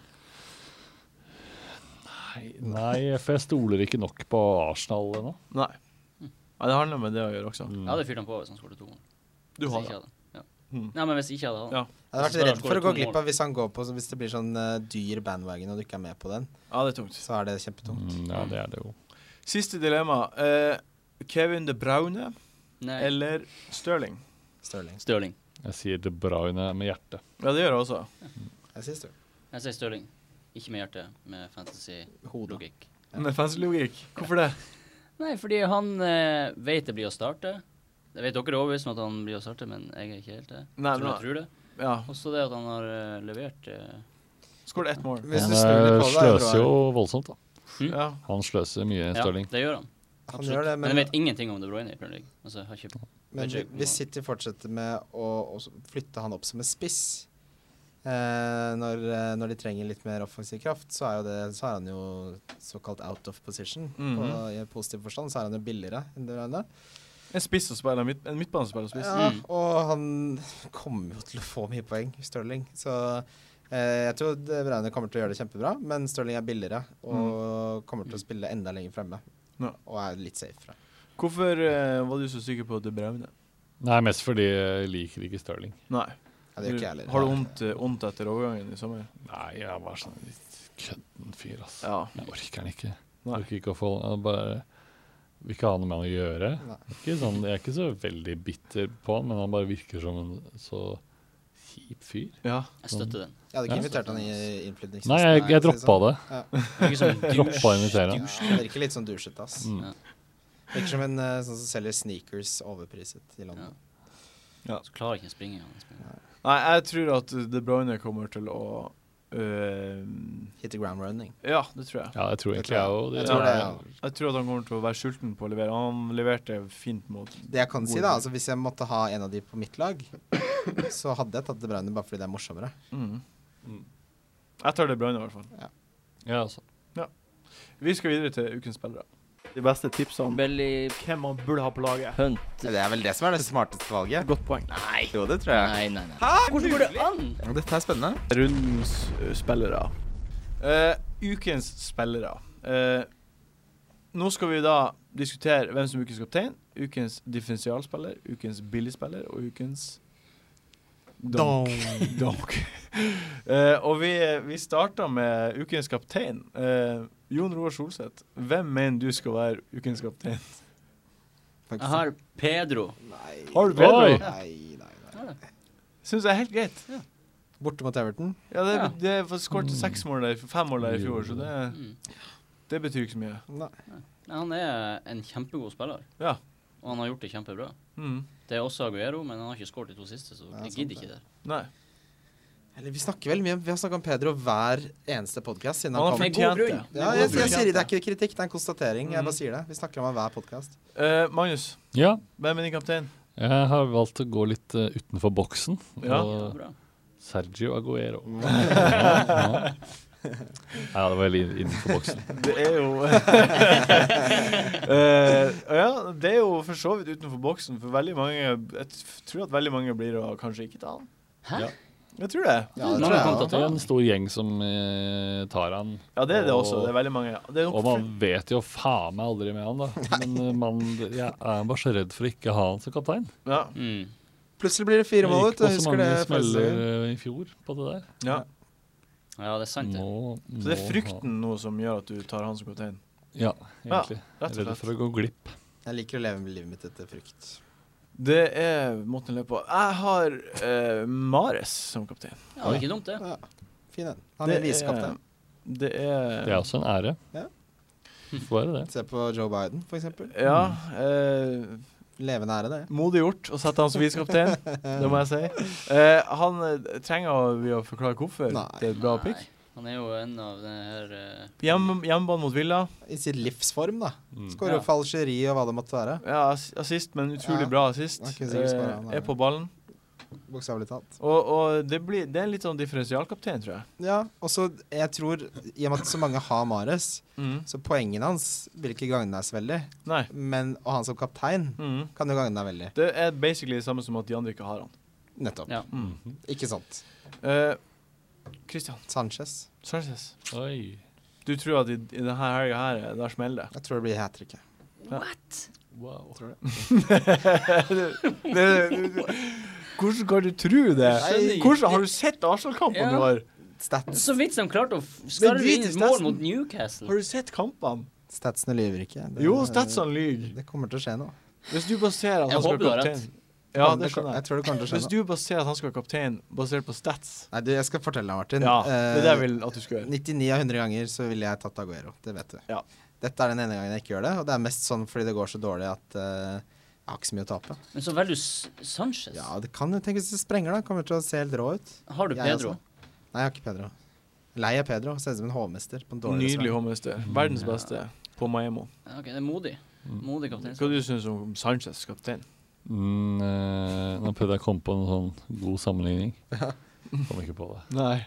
Nei, for jeg stoler ikke nok på Arsenal ennå.
Nei. Nei, det handler med det å gjøre også.
Mm.
Jeg hadde fyrt han på hvis han skåret to mål.
Du
Hvis
har
ikke
det.
hadde. Ja.
Hmm.
Mm.
Nei, men hvis ikke hadde han
Ja.
Jeg hadde
Hazard
vært redd
skårer
for å gå
to
glipp
mål.
av hvis han går på Hvis det blir sånn eh, dyr bandwagon og du ikke er med på den,
Ja, det er tungt.
så er det kjempetungt.
Mm, ja, det er det jo.
Siste dilemma. Eh, Kevin De Braune
Nei.
eller Stirling?
Stirling.
Stirling.
Jeg sier De Bruyne med hjertet.
Ja, det gjør jeg også.
Jeg sier Stirling.
Jeg sier Stirling. Ikke med hjerte, med fantasy-logikk.
Hodet. Ja.
Med fanslogikk. Hvorfor det?
Nei, fordi han eh, vet det blir å starte. Jeg vet dere er overbevist om at han blir å starte, men jeg er ikke helt det.
Nei,
tror
men-
jeg tror det.
Ja.
Også det at han har eh, levert eh,
Skåret ett mål.
Hvis
Han
du snur
eh,
litt på det, er det
sløser
bra.
jo voldsomt, da.
Ja.
Han sløser mye,
Ja,
Stirling.
det gjør han.
Han
Absolutt.
gjør det,
men,
men,
jeg vet ingenting om De Bruyne i Premier League. Altså, jeg har ikke
men
vet ikke-
hvis City fortsetter med å, å s- flytte han opp som en spiss eh, når, eh, når de trenger litt mer offensiv kraft, så er, jo det, så er han jo såkalt out of position. på,
Mhm.
I positiv forstand så er han jo billigere enn De Bruyne.
En spiss som spiller midt, En midtbanespiller som spiss.
Ja,
Mm.
og han kommer jo til å få mye poeng, Stirling. Så eh, jeg tror De Bruyne kommer til å gjøre det kjempebra, men Stirling er billigere og kommer til å spille enda lenger fremme.
Mhm. Ja.
Og er litt safe fra.
Hvorfor eh, var du så sikker på De Braune?
Nei, mest fordi jeg liker ikke Stirling.
Nei.
Ja, det gjør ikke jeg
Du-
heller.
Har du vondt, eh, vondt etter overgangen i sommer?
Nei, jeg var sånn litt kødden fyr, ass.
Ja.
Jeg orker han ikke. Jeg
Nei.
orker ikke å få jeg bare Vil ikke ha noe med han å gjøre.
Nei.
Ikke sånn, jeg er ikke så veldig bitter på han, men han bare virker som en så kjip fyr.
Ja.
Jeg støtter den.
Jeg hadde ikke
Ja.
invitert han i innflytningsfesten.
Nei, jeg, jeg droppa det.
Han er ikke sånn douche.
Droppa å invitere
Ja,
han.
han virker litt sånn douchete, ass.
Mm.
Virker som en eh, sånn som selger sneakers overpriset i
Ja.
London.
Så klarer ikke å springe. Han springer.
Nei, jeg tror at De Bruyne kommer til å eh,
Hit the ground running.
Ja, det tror jeg.
Ja, jeg tror
Jeg
egentlig jeg òg
Jeg tror det, ja.
Jeg tror at han kommer til å være sulten på å levere. Han leverte fint mot
Det jeg kan si, da, altså hvis jeg måtte ha en av de på mitt lag, så hadde jeg tatt De Bruyne bare fordi det er morsommere.
mm.
Mm.
Jeg tar De Bruyne, i hvert fall.
Ja, altså.
Vi skal videre til ukens spillere. De beste tipsene om
Belly
hvem man burde ha på laget.
punt.
Det er vel det som er det smarteste valget.
Godt poeng.
Nei. Jo, det tror jeg.
Nei, nei, nei. Hæ? Hvordan går det an?
Dette er spennende.
Rundens eh, spillere. Eh, ukens spillere. Eh, nå skal vi da diskutere hvem som er ukens kaptein, ukens differensialspiller, ukens billigspiller og ukens Donk. Donk. Eh, og vi, vi starter med ukens kaptein. Eh, Jon Roar Solseth, hvem mener du skal være ukens kaptein?
Jeg har Pedro.
Nei.
Har du
Pedro?
Nei, nei, nei.
Syns jeg er helt greit.
Borte mot Everton.
Ja, det,
Ja.
det er for- skårte
Mm.
seks mål der, fem mål der i fjor, så det,
Mm.
det betyr ikke så mye.
Nei.
Nei, Han er en kjempegod spiller,
Ja.
og han har gjort det kjempebra.
Mm.
Det er også Aguero, men han har ikke skåret de to siste, så jeg
Nei, sant
gidder
det.
ikke det.
Nei.
Eller, vi snakker veldig mye om Vi har snakka om Pedro hver eneste podkast siden han
Han har
kom.
Med god
fortjent
grunn.
det.
Ja, jeg, jeg, sier det er ikke kritikk, det er en konstatering. Jeg
Mhm.
bare sier det. Vi snakker om han hver podkast.
Eh, Magnus,
Ja,
hvem er din kaptein?
jeg har valgt å gå litt eh, utenfor boksen.
Ja.
Ja,
Og
bra.
Sergio Aguero. Ja, ja. ja det var litt innenfor boksen.
Det er jo Eh, Ja, det er jo for så vidt utenfor boksen, for veldig mange Jeg t- tror at veldig mange blir å kanskje ikke ta han.
Hæ?
Ja.
Jeg tror det.
Ja, det
Nå
tror
har
jeg.
han kommet
også.
til
Det er en
å ta
stor gjeng som eh, tar han.
Ja, det er det
Og-
også. Det er veldig mange. Det er nok
Og man vet jo faen meg aldri med han, da. Men eh, man, jeg er bare så redd for å ikke ha han som kaptein.
ja.
Mm.
Plutselig blir det fire mål
gikk
ut. Jeg
på så
husker
mange
det. første
smeller
gangen.
eh, i fjor på det der.
Ja.
Ja, det er sant, det.
Må,
Så det er
må
frykten nå som gjør at du tar han som kaptein.
ha- Ja, egentlig.
Rett og
Redd
slett.
for å gå glipp.
Jeg liker å leve livet mitt etter frykt.
Det er måten å leve på. Jeg har eh, Mares som kaptein.
Ja, det er ikke dumt, det.
Ja, fin en. Han er
Det
visekaptein.
Det er
Det er også en ære.
Ja.
Får være det.
Se på Joe Biden, for eksempel.
Ja. eh,
Levende ære, det.
modig gjort å sette han som visekaptein, det må jeg si. Eh, han eh, trenger vi å forklare hvorfor
Nei.
det er et bra pick.
Nei, Han er jo en av denne her eh,
Hjem, hjemmebane mot Villa.
I sin livsform, da.
Mm.
Skårer
Ja.
falskeri og hva det måtte være.
Ja, ass- assist, men utrolig
Ja.
bra assist.
Det er ikke sikkert skårer han,
Eh,
nei.
er på ballen.
Bokstavelig talt.
Og, og det, blir, det er en litt sånn differensialkaptein, tror jeg.
Ja, og så jeg tror, i og med at så mange har Mares,
Mm.
så poengene hans vil ikke gagne deg så veldig.
Nei.
Men, og han som kaptein
Mm.
kan jo gagne deg veldig.
Det er basically det samme som at de andre ikke har han.
Nettopp.
Ja.
Mm.
Ikke sant.
Eh, Christian
Sanchez.
Sanchez,
Oi.
du tror at i, i denne helga her, eh, der smeller det?
Jeg tror det blir hat tricket.
Wow.
Det- det- det- Hvordan kan du tro det?
Nei.
Hvordan, har du sett Arsenal-kampene
Ja.
i år?
Stats.
Så vidt de klarte å f- skarve
drit
inn
i
et mål
Statsen.
mot Newcastle.
Har du sett kampene?
Statsene lyver ikke. Det-
Jo, Statson lyver.
Det kommer til å skje nå.
Hvis du baserer at
Jeg
han skal
håper du har
være
rett.
kaptein Ja, det skjønner
Jeg
jeg.
tror det kommer til å
Hvis
skje nå.
du baserer at han skal være kaptein basert på stats
Nei, du, jeg skal fortelle deg, Martin.
Ja, det er det jeg
Eh,
vil at du skal gjøre.
99 av 100 ganger så ville jeg tatt Aguero. Det vet du.
Ja.
Dette er den ene gangen jeg ikke gjør det, og det er mest sånn fordi det går så dårlig at eh, jeg har ikke så mye å tape.
Men så velger du S- Sanchez.
Ja, det kan jo Tenk hvis det sprenger, da. Kommer det til å se helt rå ut.
Har du
Jeg
Pedro?
også. Nei, jeg har ikke Pedro. Lei av Pedro. Ser ut som en hovmester. På en dårlig
Nydelig
restaurant.
hovmester. Verdens beste på Maemmo.
Ja, ok, det er modig.
Mm.
Modig kaptein.
Hva du syns om Sanchez kaptein?
Mm, eh, nå prøvde jeg å komme på en sånn god sammenligning. Kom ikke på det.
Nei.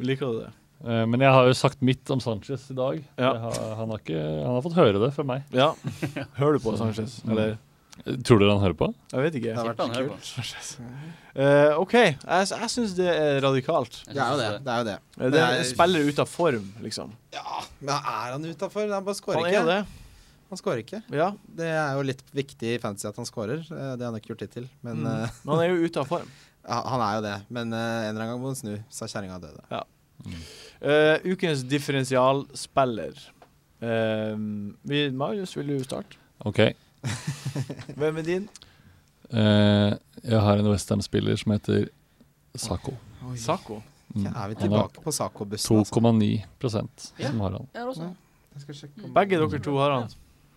Liker du det?
Eh, men jeg har jo sagt mitt om Sanchez i dag.
Ja.
Jeg har, han, har ikke, han har fått høre det fra meg.
Ja. Hører du på Sanchez? Eller?
Eh, Tror dere han hører på?
Jeg vet ikke.
Det har
Tipper han
vært
hører
kult.
på.
Sanchez. Eh, OK, jeg, jeg syns det er radikalt.
Jeg
Det er jo det.
synes
det, er jo det.
Eh, Det er en spiller ute av form, liksom.
Ja, men er han utafor? Han bare
Han
skårer
er
ikke.
det.
Han skårer ikke.
Ja.
Det er jo litt viktig i fantasy at han skårer. Eh, Det har han ikke gjort hittil. Men
Mm.
eh,
Men han er jo ute av form.
ja, han er jo det. Men eh, en eller annen gang må han snu, sa kjerringa døde.
Eh, ukens differensialspiller. Eh, vi- Marius, vil du starte?
OK.
Hvem er din?
Eh, jeg har en Westham-spiller som heter Saco.
Sako.
Mm.
Er vi
Han har
tilbake på Saco-bussen? altså?
2,9 som har han.
Jeg har også.
Jeg skal sjekke om-
Begge dere to har han.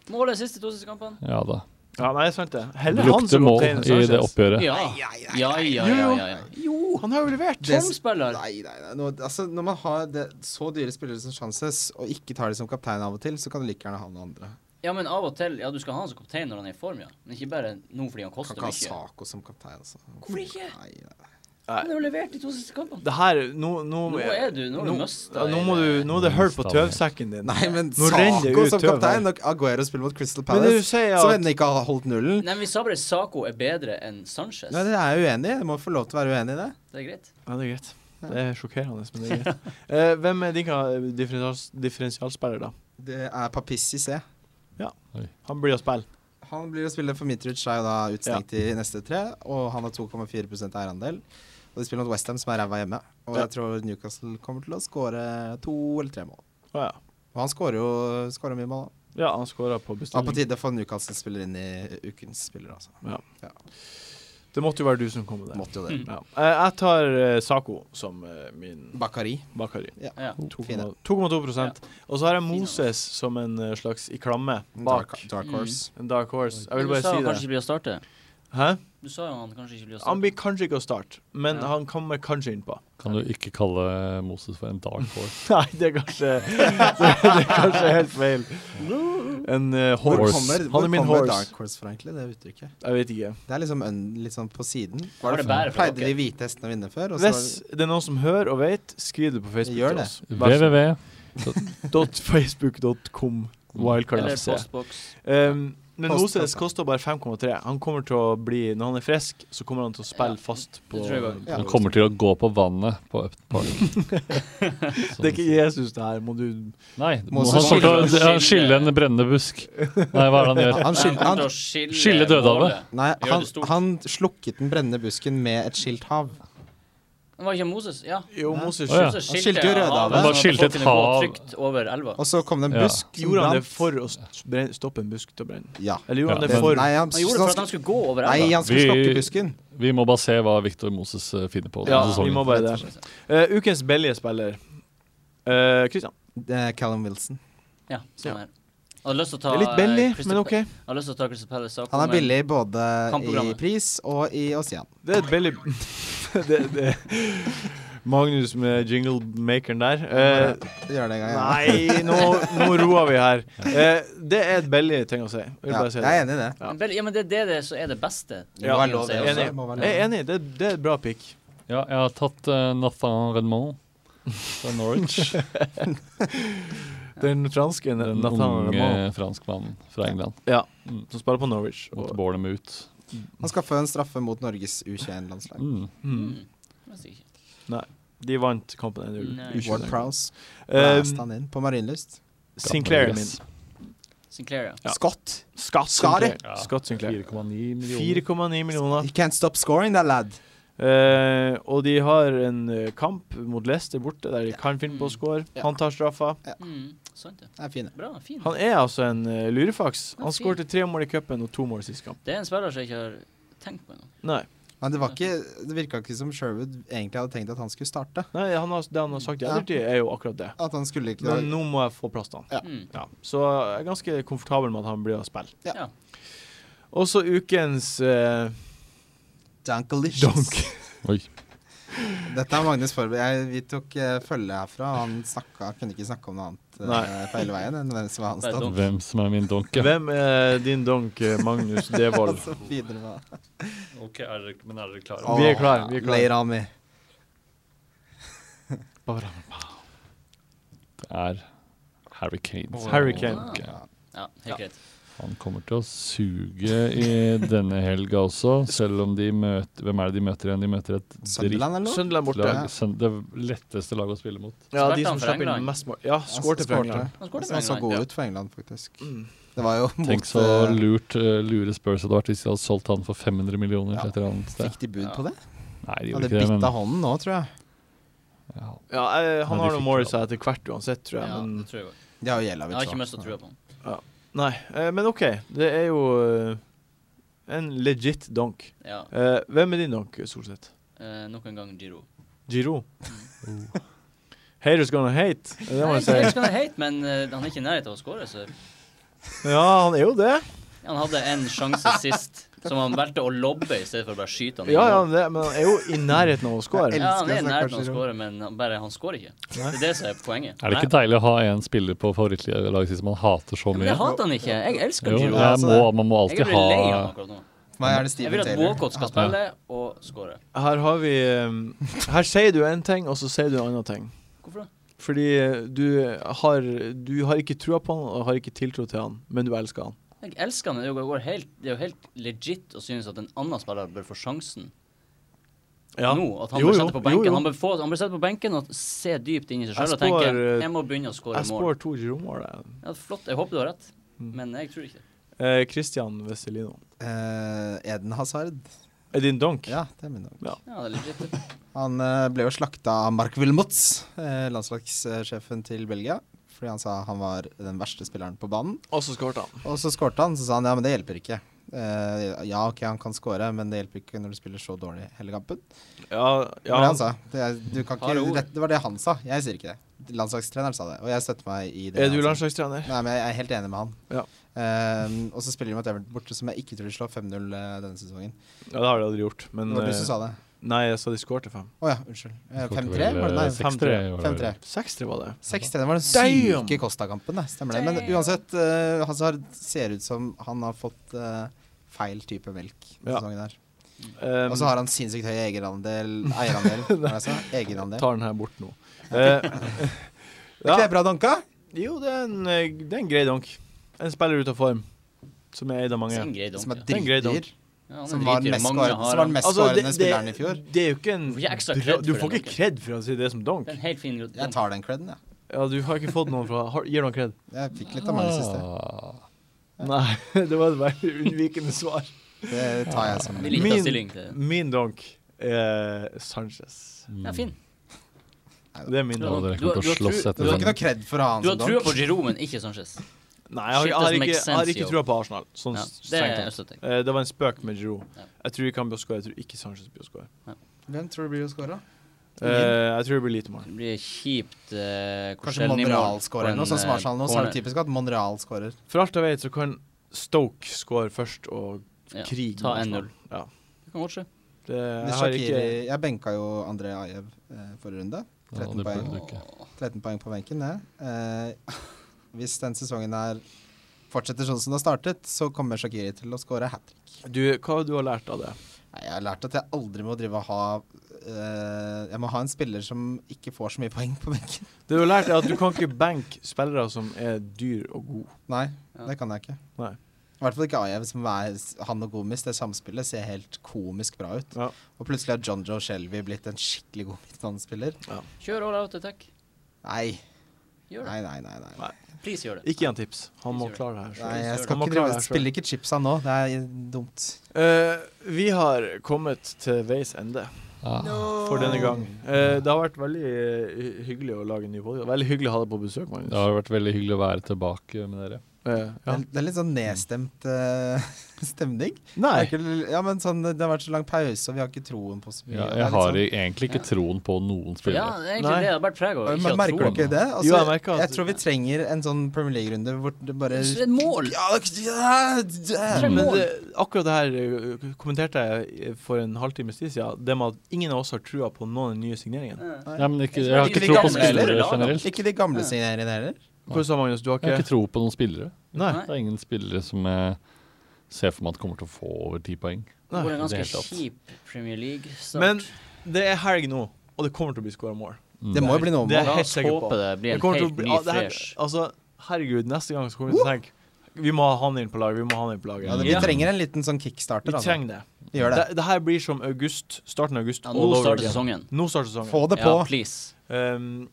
Målet siste to siste kampene.
Ja da.
Ja, nei, sant det. Heller
Det
han
lukter
som
mål
kaptein enn
i det
Sanchez.
oppgjøret.
Ja. Ja, ja, ja, ja, ja, ja.
Jo, han har jo levert.
Det-
Som spiller.
Nei, nei, nei. Nå, altså, når man har det, så dyre spillere som Chances, og ikke tar de som kaptein av og til, så kan du like gjerne ha noen andre.
Ja, men av og til Ja, du skal ha han som kaptein når han er i form, ja. Men ikke bare nå fordi han
Kan
koster
ikke ha
mye.
Saco som kaptein, altså.
Hvorfor ikke?
Nei, nei.
Han har jo levert de to siste kampene.
Det her Nå, nå,
Nå er du Nå har
nå-
du mista
ja, nå må du Nå er det hull på tøvsekken din.
nei men
Nå renner det
Saco
ut
som
tøv her.
kaptein når Aguero spiller mot Crystal
Men det du
Palace,
sier
som
at
ennå ikke har holdt nullen
Nei, men vi sa bare Saco er bedre enn Sanchez.
Nei, det er jeg uenig i. Du må få lov til å være uenig i det.
Det er greit.
Ja, det er greit. Det er sjokkerende, men det er greit. Eh, hvem er din ka- differensials- differensialspiller, da?
Det er Papissi C.
Han blir å spille.
Han blir å spille for Mitrovic, er jo da utestengt i neste tre, og han har 2,4 eierandel. Og de spiller mot Westham, som er ræva hjemme. Og
Ja.
jeg tror Newcastle kommer til å skåre to eller tre mål.
Å ja.
Og han skårer jo skårer mye mål, da.
ja, han skåra på
Ja, på
bestilling.
tide å få Newcastle-spiller inn i ukens spiller, altså.
Det måtte jo være du som kom med det.
Måtte jo det.
Ja. Eh, jeg tar eh, Saco som eh, min
Bakari.
bakari.
Ja.
Mm,
2,2 Og så har jeg Moses som en eh, slags i klamme bak. Mm.
Dark, dark Horse.
En dark horse. Jeg vil
Men
bare
du sa
si
han kanskje
det.
ikke blir å starte.
Hæ?
Du sa jo han kanskje ikke blir å
Han
starte.
blir kanskje ikke å starte, men
Ja.
han kommer kanskje innpå.
Kan du ikke kalle Moses for en dark horse?
Nei, det er kanskje Det er kanskje helt feil. En eh,
Hvor
horse.
kommer, hvor
Han er min
kommer
horse.
Dark Horse fra, egentlig? Det uttrykket.
Jeg vet ikke.
Det er liksom un, litt sånn på siden.
Var det bare for
Pleide de
dere?
hvite hestene å vinne før? Og så
Hvis det er noen som hører og vet, skriv det på Facebook
Gjør
til
det.
oss. Vær så-
www.
Dot facebook.com wildcard
Eller
FC.
postboks.
Um, Men
Kost-
Moses koster bare 5,3. Han kommer til å bli Når han er frisk, så kommer han til å
Ja,
spille fast på
tror jeg også.
på-
Han kommer til å gå på vannet på Upton Park. Sånn.
Det er ikke Jesus, det her. Må du
Nei, det må
Må
han
også
kommer til å
skille-
det- han skille en brennende busk. Nei, hva er det han gjør?
Han, skil, han,
skille,
skille Dødehavet.
målet.
nei,
Gjør
han,
det stort.
han slukket den brennende busken med et skilt hav.
Det var ikke Moses, ja.
Jo, Moses
Å, ja.
Moses
Han skilte jo Rødehavet.
havet,
Han bare
sånn at
skilte
folk
et
kunne gå
hav.
trygt over elva.
Og så kom det en
Ja.
busk. som
Gjorde han
brant.
det for å s- bren- stoppe en busk til å brenne?
Ja.
Eller gjorde
Ja,
han det
men-
for
Nei, han,
Han gjorde det for at
han,
han skulle gå over
nei,
elva.
han skulle
Vi-
slokke busken.
Vi må bare se hva Victor Moses eh, finner på.
Ja,
denne
vi
sesongen.
må bare det. Eh, ukens billige spiller. Eh, Christian.
Eh, Callum Wilson.
Ja, sånn her. Jeg hadde lyst til å ta
Det er litt
eh,
billig,
Crystal
men
Pa-
OK.
Jeg hadde lyst til å ta Crystal Palace. Saco,
Han er
men-
billig både i
Kampprogrammet.
pris og i osean.
Det er et billig det, det. Magnus med jinglemakeren der. Eh,
Gjør det en gang. ja.
nei, nå, nå roer vi her. Eh, det er et billig ting å si. Jeg vil
Ja,
bare si
jeg
det.
er enig i det.
Ja.
Men vel, Ja, men det er det, det som er det beste.
Det må være lov,
det
det også.
enig.
Må være
Jeg er
lov.
enig. Det, det er et bra pick.
Ja, jeg har tatt eh, Nathan Redmond fra Norwich.
Den franske
Den
Nathan
unge
Ramon,
franskmannen fra England
Ja.
Mm.
som spiller på Norwich.
mot
Og,
Bournemouth.
Han skal få en straffe mot Norges U21-landslag.
Mm.
mm,
Mm. Jeg vet ikke.
de vant kampen 1-0.
Nei.
U21.
Ward Prowse
Eh,
blæste han inn på Marienlyst.
Sinclair er min.
Sinclair, ja.
Ja.
Scott!
Scott
Skare.
Sinclair.
Ja.
Scott Sinclair.
4,9 millioner.
4,9 millioner.
You can't stop scoring, that lad.
Eh, og de har en eh, kamp mot Leicester borte, der de kan finne på å score.
Ja.
Han tar straffa.
Mm, sant det.
Det er fine.
Bra, fin.
Han er altså en eh, lurefaks.
Ja,
Han
fint.
skårte tre mål i cupen og to mål sist kamp.
Det er en spiller som jeg ikke har tenkt på engang.
Nei,
Men det, var ikke, det virka ikke som Sherwood egentlig hadde tenkt at han skulle starte.
Nei han har, det han har sagt i
Ja.
ettertid, er jo akkurat det.
At han skulle ikke
Men nå må jeg få plass til han.
Ja.
Mm.
Ja. Så jeg er ganske komfortabel med at han blir å spille.
Ja.
Ja.
Også ukens eh,
Dankelicious.
dunk.
Oi.
Dette er Magnus Forberg. Jeg, vi tok eh, følge herfra. og Han snakka, kunne ikke snakke om noe annet
Nei.
eh, på hele veien enn hvem som var hans
Bare
stand.
dunk.
Hvem som er min donke?
Hvem er din donk, eh, Magnus Devold?
Altså, videre med-
Ok, er dere, men er dere klare?
Vi er klare, vi er klare.
Lay it on me.
Det er Harry Kane.
Harry Kane.
Ok.
Ja, helt greit.
Han kommer til å suge i denne helga også, selv om de møter Hvem er det de møter igjen? De møter et drittlag.
Sunderland, eller noe?
Sunderland borte.
Ja.
Søn- Det letteste laget å spille mot.
Ja,
Skårte
de som
han for
slapp inn
England?
mest mål. Ja, skårte for England.
Han skåret
Han
en
så
gang.
god
Ja.
ut for England, faktisk.
Mm.
Det var jo mot
Tenk så
eh,
lurt eh, lure Spurs hadde vært hvis de hadde solgt han for 500 millioner
Ja.
til et eller annet sted.
Fikk de bud
Ja.
på det?
Nei, de
Hadde
gjorde ikke det,
bitt
men
av hånden nå, tror jeg.
ja.
Ja, eh, han
Nei,
har
de
noe
fikk
mål
det.
i seg etter hvert uansett, tror jeg.
Ja,
Men
det tror jeg også.
De har jo Jelavic
Jeg har ikke
også.
mest å trua på han.
Nei, eh, men OK. Det er jo eh, en legit donk.
Ja.
Eh, hvem er din donk, Solseth?
Eh, nok en gang Giro.
Giro? Mm. Haters gonna hate, er det
Nei,
må
jeg
jeg sier.
skal hate, men eh, han er ikke i nærheten av å skåre, så
Ja, han er jo det.
han hadde en sjanse sist som han valgte å lobbe i stedet for å bare skyte han. i
Ja, ja,
mål.
han er det, men han er jo i nærheten av å score.
Jeg
ja, han
elsker
er i
å se
nærheten av å
Casemiro.
skåre, men han bare han skårer ikke. Det er det som er poenget.
Er det ikke deilig å ha en spiller på favorittlaget sitt som man hater så
Ja, men
mye?
det hater han ikke. Jeg elsker
Jo,
Giro.
ja.
jeg må, man må
Jeg
alltid
blir
ha
lei av han akkurat nå.
For meg er det
Jeg vil
Steven
at
Taylor.
Walcott skal spille og skåre.
Her har vi eh, Her sier du en ting, og så sier du en annen ting.
Hvorfor det?
Fordi eh, du har, du har ikke trua på han og har ikke tiltro til han, men du elsker han.
Jeg elsker han. Det er jo- går helt, det er jo helt legit å synes at en annen spiller bør få sjansen nå. At han
Jo,
bør
jo,
sette på
jo,
benken.
jo.
Han bør, få, han bør sette på benken og se dypt inn i seg
Jeg
sjøl og
spår,
tenke
eh,
jeg må begynne å skåre
Jeg
mål.
spår to Giro-mål. jeg.
Ja, flott. Jeg håper du har rett,
Mm.
men jeg tror ikke det.
Eh, Christian Veselino.
Eh, Eden Hazard.
Er din donk?
Ja, det er min navn.
Ja, det er legit.
Han eh, ble jo slakta av Mark Wilmots, eh, landslagssjefen til Belgia. Fordi han sa han var den verste spilleren på banen.
Og så skåret han.
Og så skårte han, så sa han ja, men det hjelper ikke. Eh, ja, OK, han kan skåre, men det hjelper ikke når du spiller så dårlig hele kampen.
Ja,
Det var det han sa. Det, er, du kan
Harde
ikke,
ord.
det, det var det han sa. Jeg sier ikke det. Landslagstreneren sa det, og jeg støtter meg i det.
Er du
han sa.
landslagstrener?
Nei, men jeg er helt enig med han.
Ja.
Ehm, og så spiller de mot Everton borte, som jeg ikke tror de slår 5-0 denne sesongen.
Ja, det har de aldri gjort. Men
Det var du som
eh,
sa det.
Nei, jeg sa de skårte fem.
Å ja, unnskyld. Eh, 5-3 var det? Nei,
5-3. var det vel.
5-3.
Seks-tre var det.
6-3 var den
Damn!
syke Kosta-kampen, det. Stemmer det. Men
Damn!
uansett, eh, Hazard ser ut som han har fått eh, feil type melk denne
Ja.
sesongen her.
Um,
Og så har han sinnssykt høy egenandel Eierandel, hva var det jeg sa? Egenandel.
tar den her bort nå. Eh,
Er ikke
ja.
det bra, Danka?
Jo, det er en, eh, det er en grei donk. En spiller ut av form. som er eid av mange.
Sin grei dunk,
Som er
ja.
Det er en grei dunk.
dritdyr.
Ja, han er
Som var den
dritdyr.
mest,
Mange
skårende-
har
som var
han.
den mest
Altså,
skårende
det-
spilleren i fjor.
Det er jo ikke en
Du får ikke ekstra
bra-
cred
Du
for
får
den
ikke
dunken.
kred for å si det som donk.
Det er en helt fin dunk.
Jeg tar den creden, jeg.
Ja, du har ikke fått noen fra har, Gir noen kred?
Jeg fikk litt av Magnus i sted.
Ah.
Nei, det var et veldig unnvikende svar.
Det tar jeg som
Vi liker
Min-
å stille inn til det.
Min donk er Sanchez.
Ja, fin.
Det er min
Ja.
donk.
Og dere
Du har-
kommer til
du
å
har
slåss
tru-
Du
etter
får
den.
ikke noe cred for å ha han
Du har
som
trua på
donk.
Giroud, men ikke Sanchez.
Nei, jeg har,
Shit
jeg har
doesn't
ikke,
make
jeg har
sense,
ikke
yo.
trua på Arsenal. Sånn
Ja, det
strengt
er
tatt.
støtter jeg.
Eh, Det var en spøk med Giroud.
Ja.
Jeg tror ikke han blir å score. Jeg tror ikke Sanchez blir å score.
Hvem tror du blir å skåre?
Eh, Jeg tror det blir lite mål.
Det blir kjipt eh,
Kanskje
Korselny-mål
Monreal
på
skårer
en,
noe, sånn som
eh,
Arsenal nå. Så er
corner.
det typisk at Monreal skårer.
For alt jeg vet, så kan Stoke score først og
Ja,
krig.
ta
med
1-0.
Arsenal. Ja.
Det kan godt skje.
Det, jeg har ikke
Shaqiri- Jeg benka jo André Ajev eh, forrige runde.
Ja,
13
det
poeng.
burde du ikke.
13 poeng på benken, det. Eh, hvis den sesongen her fortsetter sånn som det har startet, så kommer Shakiri til å skåre hat trick.
du, Hva har du har lært av det?
Jeg har lært at jeg aldri må drive og ha eh, Jeg må ha en spiller som ikke får så mye poeng på benken.
Det du har lært, er at du kan ikke benke spillere som er dyr og gode.
Nei,
Ja.
det kan jeg ikke.
Nei.
I hvert fall ikke Ajev, som er han og Gomis. Det samspillet ser helt komisk bra ut.
Ja.
Og plutselig har John Joe Shelby blitt en skikkelig god midtbanespiller.
Kjør all out attack.
Nei,
Gjør det.
nei, nei. nei, nei.
Please gjør det.
Ikke gi han tips. Han må klare det her selv.
Nei, jeg
Han
skal
må klare det
ikke drive,
her selv.
spille ikke chipsa nå. Det er dumt.
Eh, vi har kommet til veis ende
Ah.
for denne gang. Eh, det har vært veldig eh, hyggelig å lage en ny podkast. Veldig hyggelig å ha deg på besøk, Magnus.
Det har vært veldig hyggelig å være tilbake med dere.
Eh,
Det
ja.
er- Det er litt sånn nedstemt eh, stemning.
Nei.
Det er ikke- Ja, men sånn, Det har vært så lang pause, og vi har ikke troen på så mye.
Ja,
Det er
jeg
litt
har
sånn-
egentlig ikke troen på noen
Ja,
spillere.
det er egentlig
Nei.
det. Det er bare preg av å ikke
Men
ha
merker du
troen.
troen.
ikke det? Altså,
Jo, jeg
jeg,
merker at-
tror vi trenger en sånn Premier League-runde hvor det bare
Det er et mål!
Ja, det- ja, det-
Tre
Men
mål.
det, akkurat det her eh, kommenterte jeg for en halvtimes tid siden. Det med at ingen av oss har trua på noen av de nye signeringene.
Ja.
Nei, men ikke, jeg har ikke tro på spillere generelt.
Ikke de gamle signeringene heller.
Hva sa Magnus? Du har
Jeg har
ikke
ikke tro på noen spillere.
Nei.
Nei.
Det er ingen spillere som jeg ser for meg at kommer til å få over ti poeng.
Det var en
det er
ganske
helt sant.
kjip Premier League-start.
Men det er helg nå, og det kommer til å bli skåra mål.
Mm.
Det må jo bli noe
Det er
mål.
jeg
La
helt
oss
sikker på.
håpe det blir
Det
en
kommer til å
helt
bli-
ny,
ja, det her-
fresh
Altså, herregud, neste gang så kommer vi til å tenke Vi må ha han inn på laget, vi må ha han inn på laget.
Ja, det, vi
Ja.
trenger en liten sånn
Vi
kickstarter. Altså.
trenger det.
Vi gjør
det.
det.
Det her blir som august, starten av august.
ja,
all
Nå
over
starter
again.
sesongen.
Nå starter sesongen.
Få det
Ja,
på.
please.
Ehm,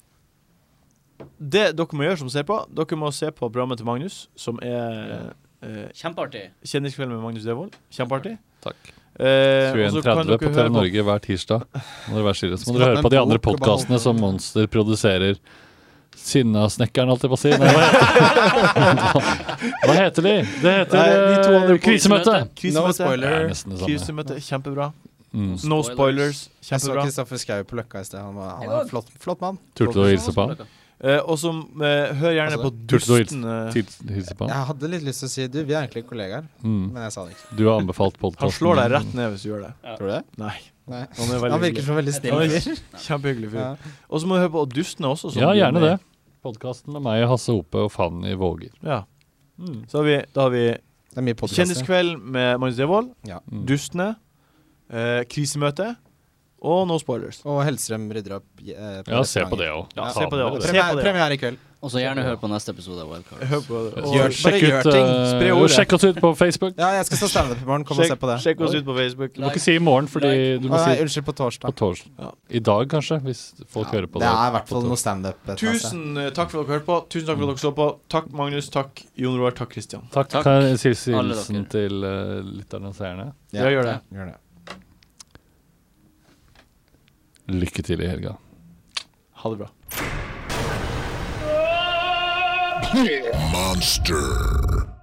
det dere må gjøre som ser på, dere må se på programmet til Magnus, som er eh,
Kjempeartig.
Kjendiskveld med Magnus Devold. Kjempeartig.
Takk.
Eh, og så kan
21.30
dere
på
høre
TV Norge hver tirsdag. Må dere være skyldige. Så må
Skulle
dere
hatt
høre
med
på de
en
andre
bok og bare holde
podkastene
på.
som Monster produserer. Sinnasnekkeren, holdt jeg på å si. Nei, hva heter- hva heter de? Det
Nei, de to
heter
andre
eh, Krisemøte!
No
Krisemøte.
Det er
spoiler.
nesten det samme.
Krisemøte. Kjempebra.
Mm.
No spoilers.
Jeg så
Kjempebra.
Kristoffer Schau på Løkka i sted. Han, var, han er en flott, flott mann.
Turte du å hilse på han?
Eh, og som eh, Hør gjerne
Altså,
på
Turte du å
Dusten. eh,
Til- Hilse på han?
Jeg hadde litt lyst til å si du, vi er egentlig kollegaer,
Mm.
men jeg sa det ikke.
Du har anbefalt podkasten.
Han slår deg rett ned hvis du gjør det.
Tror du det?
Nei.
Nei.
Han er veldig
Han virker
hyggelig.
som en veldig
Han
snill
er
fyr.
Kjempehyggelig fyr.
Ja.
Og så må du høre på Dustene også. som
Ja,
du er
gjerne
med i.
det. Podkasten med meg, Hasse Hope og Fanny Våger. Mm.
Ja. Så har vi, da har vi
Det er mye podkast.
Kjendiskveld med Magnus Devold,
Mm.
Dustene, eh, Krisemøte og No Spoilers.
Og Hellstrøm rydder opp. eh,
Ja, se på
restauranter.
det òg.
Ja, se på det også. Se på
Premiere,
det.
premiere i kveld.
Og så gjerne hør på neste episode av Wildcard.
Hør på det.
Gjør-
Sjekk
bare gjør
ut,
ting.
eh,
Spre ordet.
sjekk oss ut på Facebook.
Ja, jeg skal stå standup i morgen. Kom og se på det.
sjekk oss ut på Facebook.
Du må ikke si i morgen, fordi du
Å,
må
nei,
si
unnskyld, på
på
torsdag.
torsdag.
Ja.
I dag, kanskje, hvis folk hører på
det
det.
er i hvert
på
fall
torsdag.
noe standup. et eller annet sted.
Tusen eh, takk for at dere hørte på. Tusen takk for at dere så på. Takk, Magnus. Takk, Jon Roar. Takk, Kristian.
Takk.
Takk,
Kan jeg si
alle dere.
hilsen til eh, lytterne og seerne?
Ja,
Ja.
gjør det.
Gjør det.
Lykke til i helga.
Ha det bra.
Monster.